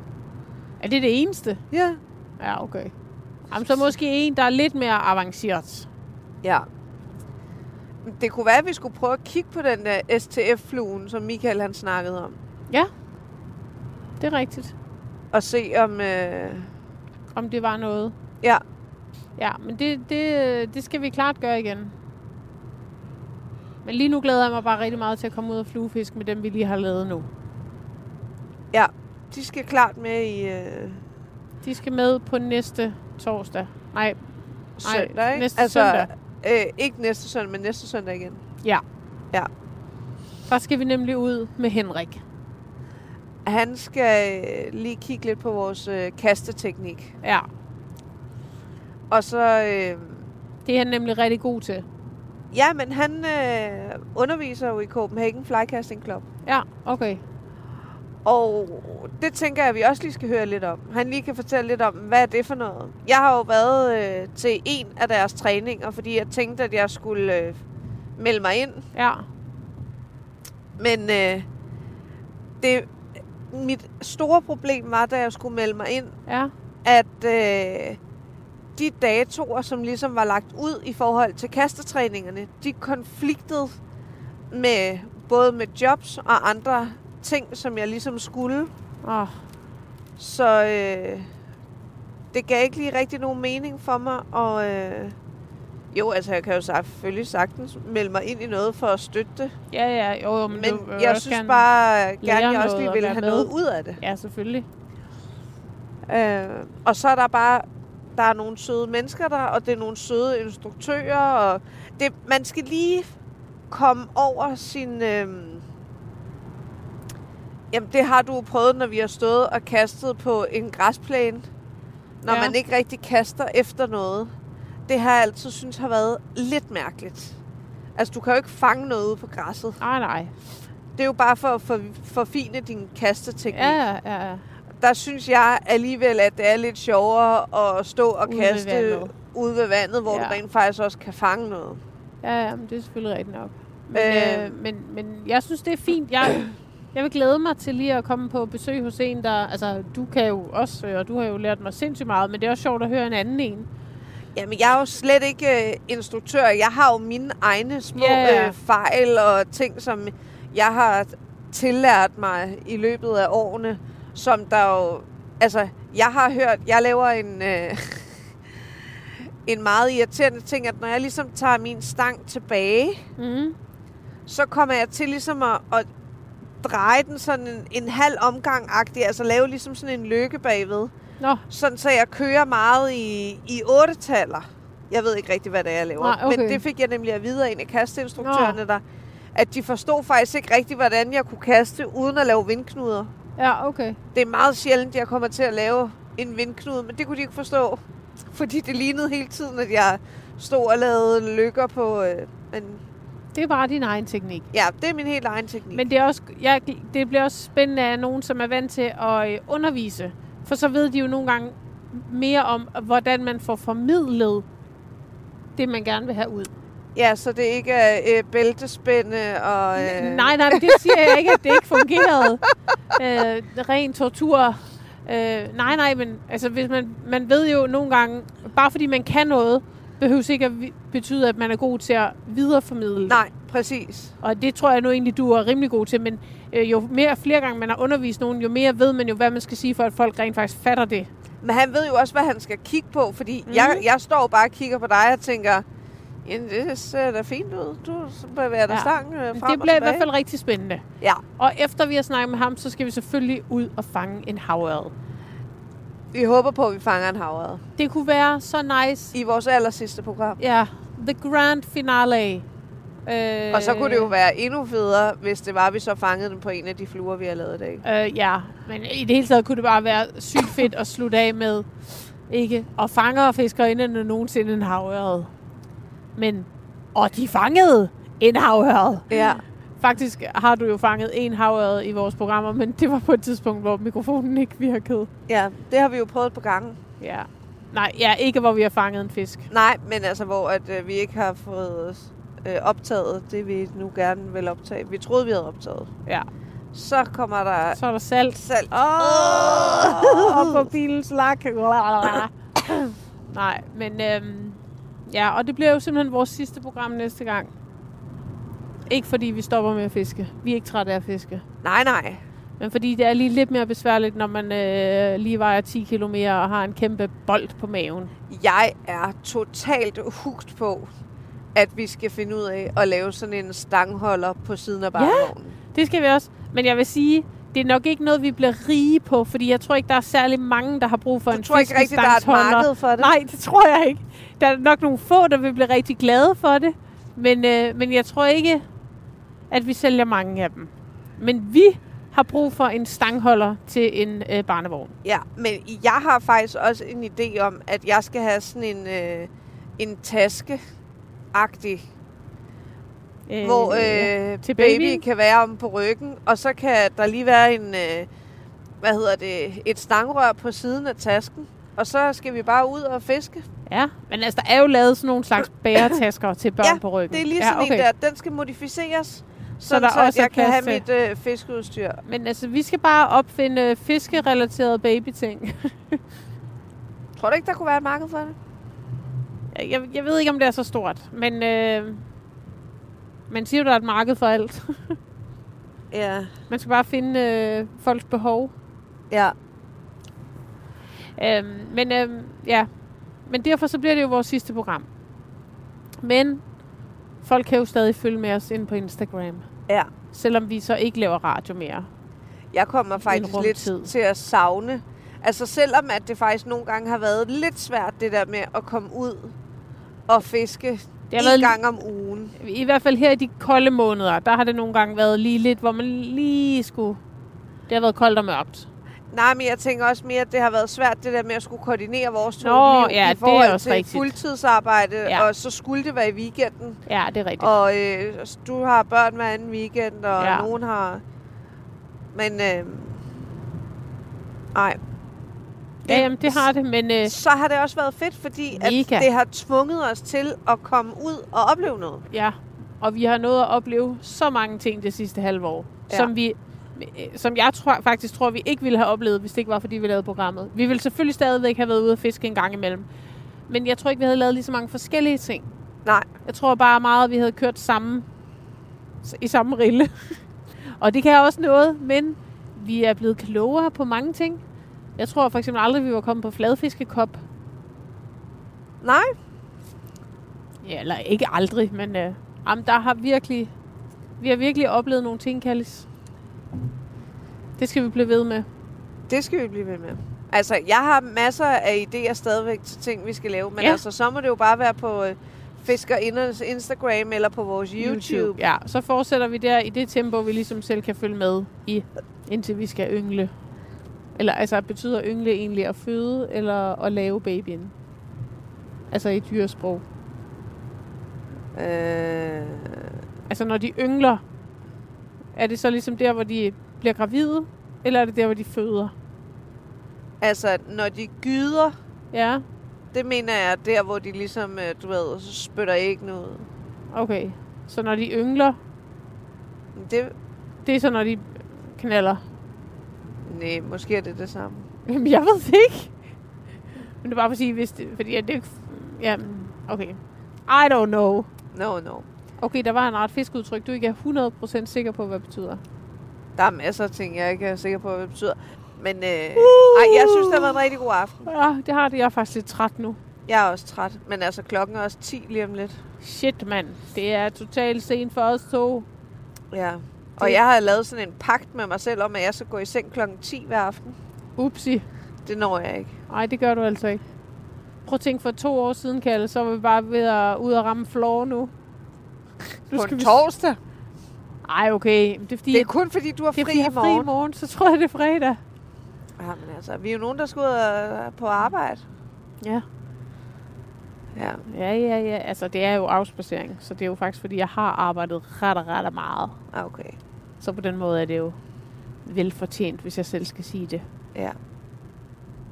Speaker 4: Er det det eneste?
Speaker 1: Ja.
Speaker 4: Ja, okay. Jamen, så måske en, der er lidt mere avanceret.
Speaker 1: Ja. Det kunne være, at vi skulle prøve at kigge på den der STF-fluen, som Michael han snakkede om,
Speaker 4: Det er rigtigt.
Speaker 1: og se om... Øh...
Speaker 4: Om det var noget.
Speaker 1: Ja.
Speaker 4: Ja, men det, det, det skal vi klart gøre igen. Men lige nu glæder jeg mig bare rigtig meget til at komme ud og fluefiske med dem, vi lige har lavet nu.
Speaker 1: De skal klart med i øh...
Speaker 4: De skal med på næste torsdag. Nej,
Speaker 1: søndag, ikke? Altså,
Speaker 4: næste søndag.
Speaker 1: Øh, ikke næste søndag, men næste søndag igen.
Speaker 4: der skal vi nemlig ud med Henrik.
Speaker 1: Han skal øh, lige kigge lidt på vores øh, kasteteknik.
Speaker 4: Ja,
Speaker 1: Og så... Øh...
Speaker 4: det er han nemlig rigtig god til.
Speaker 1: Ja, men han øh, underviser jo i Copenhagen Flycasting Club.
Speaker 4: Ja, okay.
Speaker 1: Og det tænker jeg, vi også lige skal høre lidt om. Han lige kan fortælle lidt om, hvad er det for noget. Jeg har jo været øh, til en af deres træninger, fordi jeg tænkte, at jeg skulle øh, melde mig ind.
Speaker 4: Ja,
Speaker 1: Men øh, det, mit store problem var, da jeg skulle melde mig ind,
Speaker 4: ja,
Speaker 1: at øh, de datoer, som ligesom var lagt ud i forhold til kastetræningerne, de konfliktede med både med jobs og andre ting, som jeg ligesom skulle.
Speaker 12: Åh,
Speaker 1: Så øh, det gav ikke lige rigtig nogen mening for mig. Og øh, jo, altså jeg kan jo selvfølgelig sagtens melde mig ind i noget for at støtte det.
Speaker 4: Ja, ja, jo, jo, men,
Speaker 1: Men
Speaker 4: du øh, vil
Speaker 1: jeg
Speaker 4: også
Speaker 1: synes
Speaker 4: gerne-
Speaker 1: bare gerne,
Speaker 4: lære
Speaker 1: jeg også
Speaker 4: noget
Speaker 1: lige
Speaker 4: og
Speaker 1: ville
Speaker 4: være
Speaker 1: have
Speaker 4: med.
Speaker 1: noget ud af det.
Speaker 4: Ja, selvfølgelig.
Speaker 1: Øh, og så er der bare der er nogle søde mennesker der, og det er nogle søde instruktører. Og det, man skal lige komme over sin... Øh, jamen, det har du jo prøvet, når vi har stået og kastet på en græsplæne. Når
Speaker 4: Ja.
Speaker 1: ja. man ikke rigtig kaster efter noget. Det har jeg altid synes har været lidt mærkeligt. Altså, du kan jo ikke fange noget ude på græsset.
Speaker 4: Nej, nej.
Speaker 1: Det er jo bare for at for, forfine din kasteteknik
Speaker 4: Ja, ja, ja, ja.
Speaker 1: der synes jeg alligevel, at det er lidt sjovere at stå og
Speaker 4: Ude ved
Speaker 1: kaste
Speaker 4: vandet.
Speaker 1: ude ved vandet, hvor
Speaker 4: Ja.
Speaker 1: ja. du rent faktisk også kan fange noget.
Speaker 4: Ja, ja, men det er selvfølgelig rigtigt nok. Men, øh,
Speaker 1: Øh.
Speaker 4: men, men jeg synes, det er fint. Jeg, jeg vil glæde mig til lige at komme på besøg hos en, der... Altså, du kan jo også, øh, og du har jo lært mig sindssygt meget, men det er også sjovt at høre en anden en.
Speaker 1: Jamen, jeg er jo slet ikke øh, instruktør. Jeg har jo mine egne små
Speaker 4: Ja, ja.
Speaker 1: øh, fejl og ting, som jeg har tillært mig i løbet af årene, som der jo... Altså, jeg har hørt... Jeg laver en... Øh, [LAUGHS] en meget irriterende ting, at når jeg ligesom tager min stang tilbage,
Speaker 4: Mm.
Speaker 1: så kommer jeg til ligesom at, at dreje den sådan en, en halv omgang agtig, altså lave ligesom sådan en lykke bagved.
Speaker 4: Nå,
Speaker 1: Sådan så jeg kører meget i, i ottetaller. Jeg ved ikke rigtig, hvad det er, jeg laver.
Speaker 4: Nej, okay.
Speaker 1: Men det fik jeg nemlig at vide af en af kasteinstruktørerne, der, at de forstod faktisk ikke rigtig, hvordan jeg kunne kaste uden at lave vindknuder.
Speaker 4: ja, okay.
Speaker 1: Det er meget sjældent, jeg kommer til at lave en vindknude, men det kunne de ikke forstå. Fordi det lignede hele tiden, at jeg stod og lavede lykker på... Øh, men
Speaker 4: Det er bare din egen teknik.
Speaker 1: ja, det er min helt egen teknik.
Speaker 4: Men det, er også, jeg, det bliver også spændende af nogen, som er vant til at øh, undervise. For så ved de jo nogle gange mere om, hvordan man får formidlet det, man gerne vil have ud.
Speaker 1: Ja, så det ikke er øh, bæltespænde og... Øh,
Speaker 4: Nej, nej, men det siger jeg ikke, at det ikke fungerede. Øh, ren tortur. Øh, nej, nej, men altså, hvis man, man ved jo nogle gange, bare fordi man kan noget, behøver ikke at vi- betyde, at man er god til at videreformidle.
Speaker 1: Nej, præcis.
Speaker 4: Og det tror jeg nu egentlig, du er rimelig god til, men øh, jo mere flere gange man har undervist nogen, jo mere ved man jo, hvad man skal sige, for at folk rent faktisk fatter det.
Speaker 1: Men han ved jo også, hvad han skal kigge på, fordi
Speaker 4: Mhm.
Speaker 1: mm. jeg, jeg står bare og kigger på dig og tænker, ja, det ser da fint ud, du bevæger dig
Speaker 4: Ja.
Speaker 1: ja. stang
Speaker 4: Men
Speaker 1: øh, frem
Speaker 4: det
Speaker 1: og
Speaker 4: bliver i
Speaker 1: tilbage.
Speaker 4: hvert fald rigtig spændende.
Speaker 1: Ja,
Speaker 4: Og efter vi har snakket med ham, så skal vi selvfølgelig ud og fange en havørred.
Speaker 1: vi håber på, at vi fanger en havred
Speaker 4: Det kunne være så nice.
Speaker 1: i vores aller sidste program.
Speaker 4: Ja, the grand finale. Øh,
Speaker 1: Og så kunne det jo være endnu federe, hvis det var, at vi så fangede den på en af de fluer, vi har lavet i dag.
Speaker 4: Øh, ja, men i det hele taget kunne det bare være sygt fedt at slutte af med, ikke? Og fanger og fiskerinderne nogensinde en havørred. Men, og de fangede en havørred.
Speaker 1: Ja.
Speaker 4: Faktisk har du jo fanget en havørred i vores programmer, men det var på et tidspunkt, hvor mikrofonen ikke virkede.
Speaker 1: ja, det har vi jo prøvet på gangen.
Speaker 4: Ja. Nej, ja, ikke hvor vi har fanget en fisk.
Speaker 1: Nej, men altså, hvor at, øh, vi ikke har fået øh, optaget det, vi nu gerne vil optage. Vi troede, vi havde optaget.
Speaker 4: Ja.
Speaker 1: Så kommer der
Speaker 4: Så er der salt.
Speaker 1: salt.
Speaker 4: Åh,
Speaker 1: Oh!
Speaker 4: og på bilens lak. Nej, men øhm, ja, og det bliver jo simpelthen vores sidste program næste gang. Ikke fordi vi stopper med at fiske. Vi er ikke trætte af at fiske.
Speaker 1: [LAUGHS] Nej, nej.
Speaker 4: Men fordi det er lige lidt mere besværligt, når man øh, lige vejer 10 km og har en kæmpe bold på maven.
Speaker 1: Jeg er totalt hugt på, at vi skal finde ud af at lave sådan en stangholder på siden af barnevognen.
Speaker 4: Det skal vi også. Men jeg vil sige, det er nok ikke noget, vi bliver rige på, fordi jeg tror ikke, der er særlig mange, der har brug for en
Speaker 1: Jeg tror ikke rigtigt, der er et
Speaker 4: fiskestangsholder.
Speaker 1: marked for det.
Speaker 4: Nej, det tror jeg ikke. Der er nok nogle få, der vil blive rigtig glade for det. Men, øh, men jeg tror ikke, at vi sælger mange af dem. Men vi har brug for en stangholder til en øh, barnevogn.
Speaker 1: Ja, men jeg har faktisk også en idé om, at jeg skal have sådan en, øh, en taske-agtig,
Speaker 4: Øh,
Speaker 1: hvor
Speaker 4: ja.
Speaker 1: øh,
Speaker 4: Til
Speaker 1: til baby
Speaker 4: babyen?
Speaker 1: kan være om på ryggen, og så kan der lige være en, øh, hvad hedder det, et stangrør på siden af tasken, og så skal vi bare ud og fiske.
Speaker 4: ja. Men altså, der er jo lavet sådan nogle
Speaker 1: [CLEARS THROAT]
Speaker 4: slags bæretasker til børn
Speaker 1: Ja,
Speaker 4: på ryggen.
Speaker 1: Det er lige
Speaker 4: ja,
Speaker 1: sådan ja, okay. en der, den skal modificeres, sådan
Speaker 4: der
Speaker 1: så, så
Speaker 4: også
Speaker 1: også
Speaker 4: er
Speaker 1: jeg kan have
Speaker 4: plads
Speaker 1: mit øh, fiskeudstyr.
Speaker 4: Men altså, vi skal bare opfinde øh, fiskerelaterede babyting.
Speaker 1: Tror du ikke, der kunne være et marked for det?
Speaker 4: Jeg, jeg ved ikke, om det er så stort, men øh, Man siger jo, der er et marked for alt.
Speaker 1: Ja.
Speaker 4: Man skal bare finde øh, folks behov.
Speaker 1: Ja.
Speaker 4: Øhm, men øhm, ja, men derfor så bliver det jo vores sidste program. Men folk kan jo stadig følge med os ind på Instagram.
Speaker 1: Ja.
Speaker 4: Selvom vi så ikke laver radio mere.
Speaker 1: Jeg kommer faktisk lidt
Speaker 4: rumtid.
Speaker 1: til at savne. Altså selvom at det faktisk nogle gange har været lidt svært, det der med at komme ud og fiske
Speaker 4: Det har
Speaker 1: en
Speaker 4: været
Speaker 1: gang om ugen.
Speaker 4: I hvert fald her i de kolde måneder, der har det nogle gange været lige lidt, hvor man lige skulle... Det har været koldt og mørkt.
Speaker 1: Nej, men jeg tænker også mere, at det har været svært, det der med at skulle koordinere vores to
Speaker 4: Nå,
Speaker 1: liv
Speaker 4: ja, det
Speaker 1: i
Speaker 4: er
Speaker 1: forhold
Speaker 4: også
Speaker 1: til
Speaker 4: rigtigt.
Speaker 1: fuldtidsarbejde,
Speaker 4: Ja.
Speaker 1: og så skulle det være i weekenden.
Speaker 4: Ja, det er rigtigt.
Speaker 1: Og øh, du har børn hver anden weekend, og ja.
Speaker 4: Ja.
Speaker 1: nogen har... Men... Øh, nej.
Speaker 4: ja, jamen, det har det, men... Øh,
Speaker 1: Så har det også været fedt, fordi at
Speaker 4: Mega.
Speaker 1: det har tvunget os til at komme ud og opleve noget.
Speaker 4: Ja, og vi har nået at opleve så mange ting det sidste halve år,
Speaker 1: Ja.
Speaker 4: ja. som vi øh, som jeg tror, faktisk tror, vi ikke ville have oplevet, hvis det ikke var, fordi vi lavede programmet. Vi ville selvfølgelig stadigvæk have været ude og fiske en gang imellem. Men jeg tror ikke, vi havde lavet lige så mange forskellige ting.
Speaker 1: Nej.
Speaker 4: Jeg tror bare meget, at vi havde kørt samme, i samme rille. [LAUGHS] og det kan også noget, men vi er blevet klogere på mange ting. Jeg tror for eksempel aldrig, vi var kommet på fladfiskekop.
Speaker 1: Nej,
Speaker 4: Ja, eller ikke aldrig, men øh, jamen, der har virkelig, vi har virkelig oplevet nogle ting, Kallis. Det skal vi blive ved med.
Speaker 1: det skal vi blive ved med. Altså, jeg har masser af idéer stadigvæk til ting, vi skal lave. Men ja.
Speaker 4: Ja.
Speaker 1: altså, så må det jo bare være på øh, Fiskerindernes Instagram eller på vores YouTube. YouTube.
Speaker 4: Ja, så fortsætter vi der i det tempo, vi ligesom selv kan følge med i, indtil vi skal yngle. Eller altså, betyder yngle egentlig at føde eller at lave babyen? Altså i dyresprog.
Speaker 1: Øh,
Speaker 4: Altså når de yngler, er det så ligesom der, hvor de bliver gravide, eller er det der, hvor de føder?
Speaker 1: altså, når de gyder,
Speaker 4: Ja,
Speaker 1: det mener jeg er der, hvor de ligesom, øh, du ved, så spytter æggene ud.
Speaker 4: okay. Så når de yngler,
Speaker 1: Men Det,
Speaker 4: det er så, når de knaller.
Speaker 1: nej, måske er det det samme.
Speaker 4: Jamen, jeg ved det ikke. Men det er bare for at sige, hvis det, fordi at det ikke... Ja, mm, okay. I don't know.
Speaker 1: No, no.
Speaker 4: Okay, der var en ret fiskudtryk, du ikke er 100% sikker på, hvad det betyder.
Speaker 1: Der er masser af ting, jeg ikke er sikker på, hvad det betyder. Men øh, ej, jeg synes, det har været en rigtig god aften.
Speaker 4: Ja, det har det. Jeg er faktisk lidt træt nu.
Speaker 1: Jeg er også træt, men altså klokken er også 10 lige om lidt.
Speaker 4: Shit, mand. Det er totalt sent for os to.
Speaker 1: Ja. Og jeg har lavet sådan en pagt med mig selv om, at jeg skal gå i seng klokken 10 hver aften.
Speaker 4: Upsi.
Speaker 1: Det når jeg ikke.
Speaker 4: Nej, det gør du altså ikke. Prøv at tænke, for to år siden, Kalle, så var vi bare ved at ud og ramme floor nu. Nu
Speaker 1: På en
Speaker 4: vi-
Speaker 1: torsdag?
Speaker 4: Ej, okay. Men Det er fordi,
Speaker 1: Det er kun fordi, du har
Speaker 4: det er,
Speaker 1: fri
Speaker 4: fordi jeg
Speaker 1: i
Speaker 4: har fri i
Speaker 1: morgen.
Speaker 4: morgen, så tror jeg, det er fredag.
Speaker 1: Ja, men altså, vi er jo nogen, der skal ud øh, på arbejde.
Speaker 4: Ja.
Speaker 1: Ja.
Speaker 4: Ja, ja, ja. Altså, det er jo afspacering, så det er jo faktisk, fordi jeg har arbejdet ret og ret og meget.
Speaker 1: Ah, Okay.
Speaker 4: Så på den måde er det jo velfortjent, hvis jeg selv skal sige det.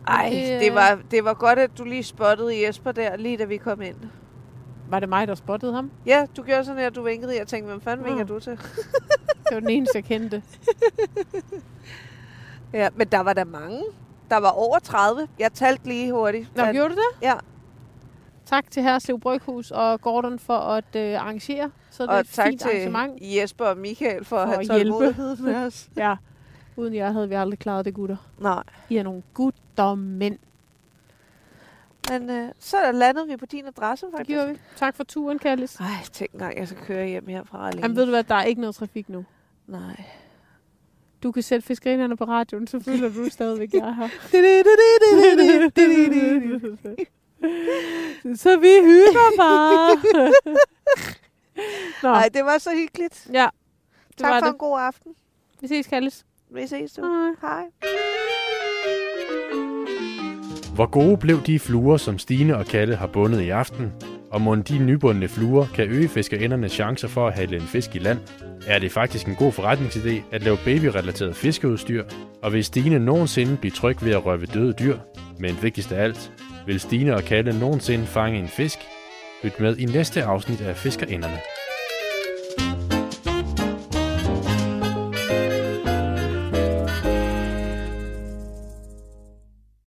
Speaker 1: Ej,
Speaker 4: Det,
Speaker 1: det
Speaker 4: øh,
Speaker 1: var, det var godt, at du lige spottede Jesper der, lige da vi kom ind.
Speaker 4: Var det mig, der spottede ham?
Speaker 1: Ja, du gjorde sådan her, du vinkede, jeg tænkte, hvem fanden
Speaker 4: Mm.
Speaker 1: vinker du til?
Speaker 4: Det var den eneste, jeg
Speaker 1: [LAUGHS]
Speaker 4: kendte.
Speaker 1: Ja, men der var der mange. Der var over 30. Jeg talte lige hurtigt.
Speaker 4: Nå,
Speaker 1: Men-
Speaker 4: gjorde du det?
Speaker 1: Ja.
Speaker 4: Tak til Herslev Bryghus og Gordon for at øh, arrangere. Så det er
Speaker 1: og
Speaker 4: et
Speaker 1: tak
Speaker 4: fint
Speaker 1: til
Speaker 4: arrangement.
Speaker 1: Jesper og Michael for at
Speaker 4: For
Speaker 1: have
Speaker 4: at
Speaker 1: tålmodighed med os.
Speaker 4: Ja. Uden jer havde vi aldrig klaret det, gutter.
Speaker 1: Nej,
Speaker 4: I er nogle guttermænd.
Speaker 1: men øh, så landede vi på din adresse
Speaker 4: Det
Speaker 1: faktisk.
Speaker 4: gjorde vi. Tak for turen, Kallis.
Speaker 1: Ej, tænk engang, jeg skal køre hjem herfra alene.
Speaker 4: Jamen ved du hvad, der er ikke noget trafik nu. [LAUGHS]
Speaker 1: Nej.
Speaker 4: Du kan sætte fiskerinerne på radioen, så føler du stadigvæk, jeg er her. så vi hygger bare. Nå,
Speaker 1: Nej, det var så hyggeligt.
Speaker 4: ja. Det
Speaker 1: Tak
Speaker 4: var
Speaker 1: for
Speaker 4: det.
Speaker 1: en god aften.
Speaker 4: Vi ses, Kallis.
Speaker 1: Vi ses du.
Speaker 4: Hej.
Speaker 1: Hej.
Speaker 3: Hvor gode blev de fluer, som Stine og Kalle har bundet i aften? Og må de nybundne fluer kan øge fiskerindernes chancer for at hælde en fisk i land? Er det faktisk en god forretningsidé at lave babyrelateret fiskeudstyr? Og vil Stine nogensinde blive tryg ved at røre ved døde dyr? Men vigtigst af alt, vil Stine og Kalle nogensinde fange en fisk? Lyt med i næste afsnit af Fiskerinderne.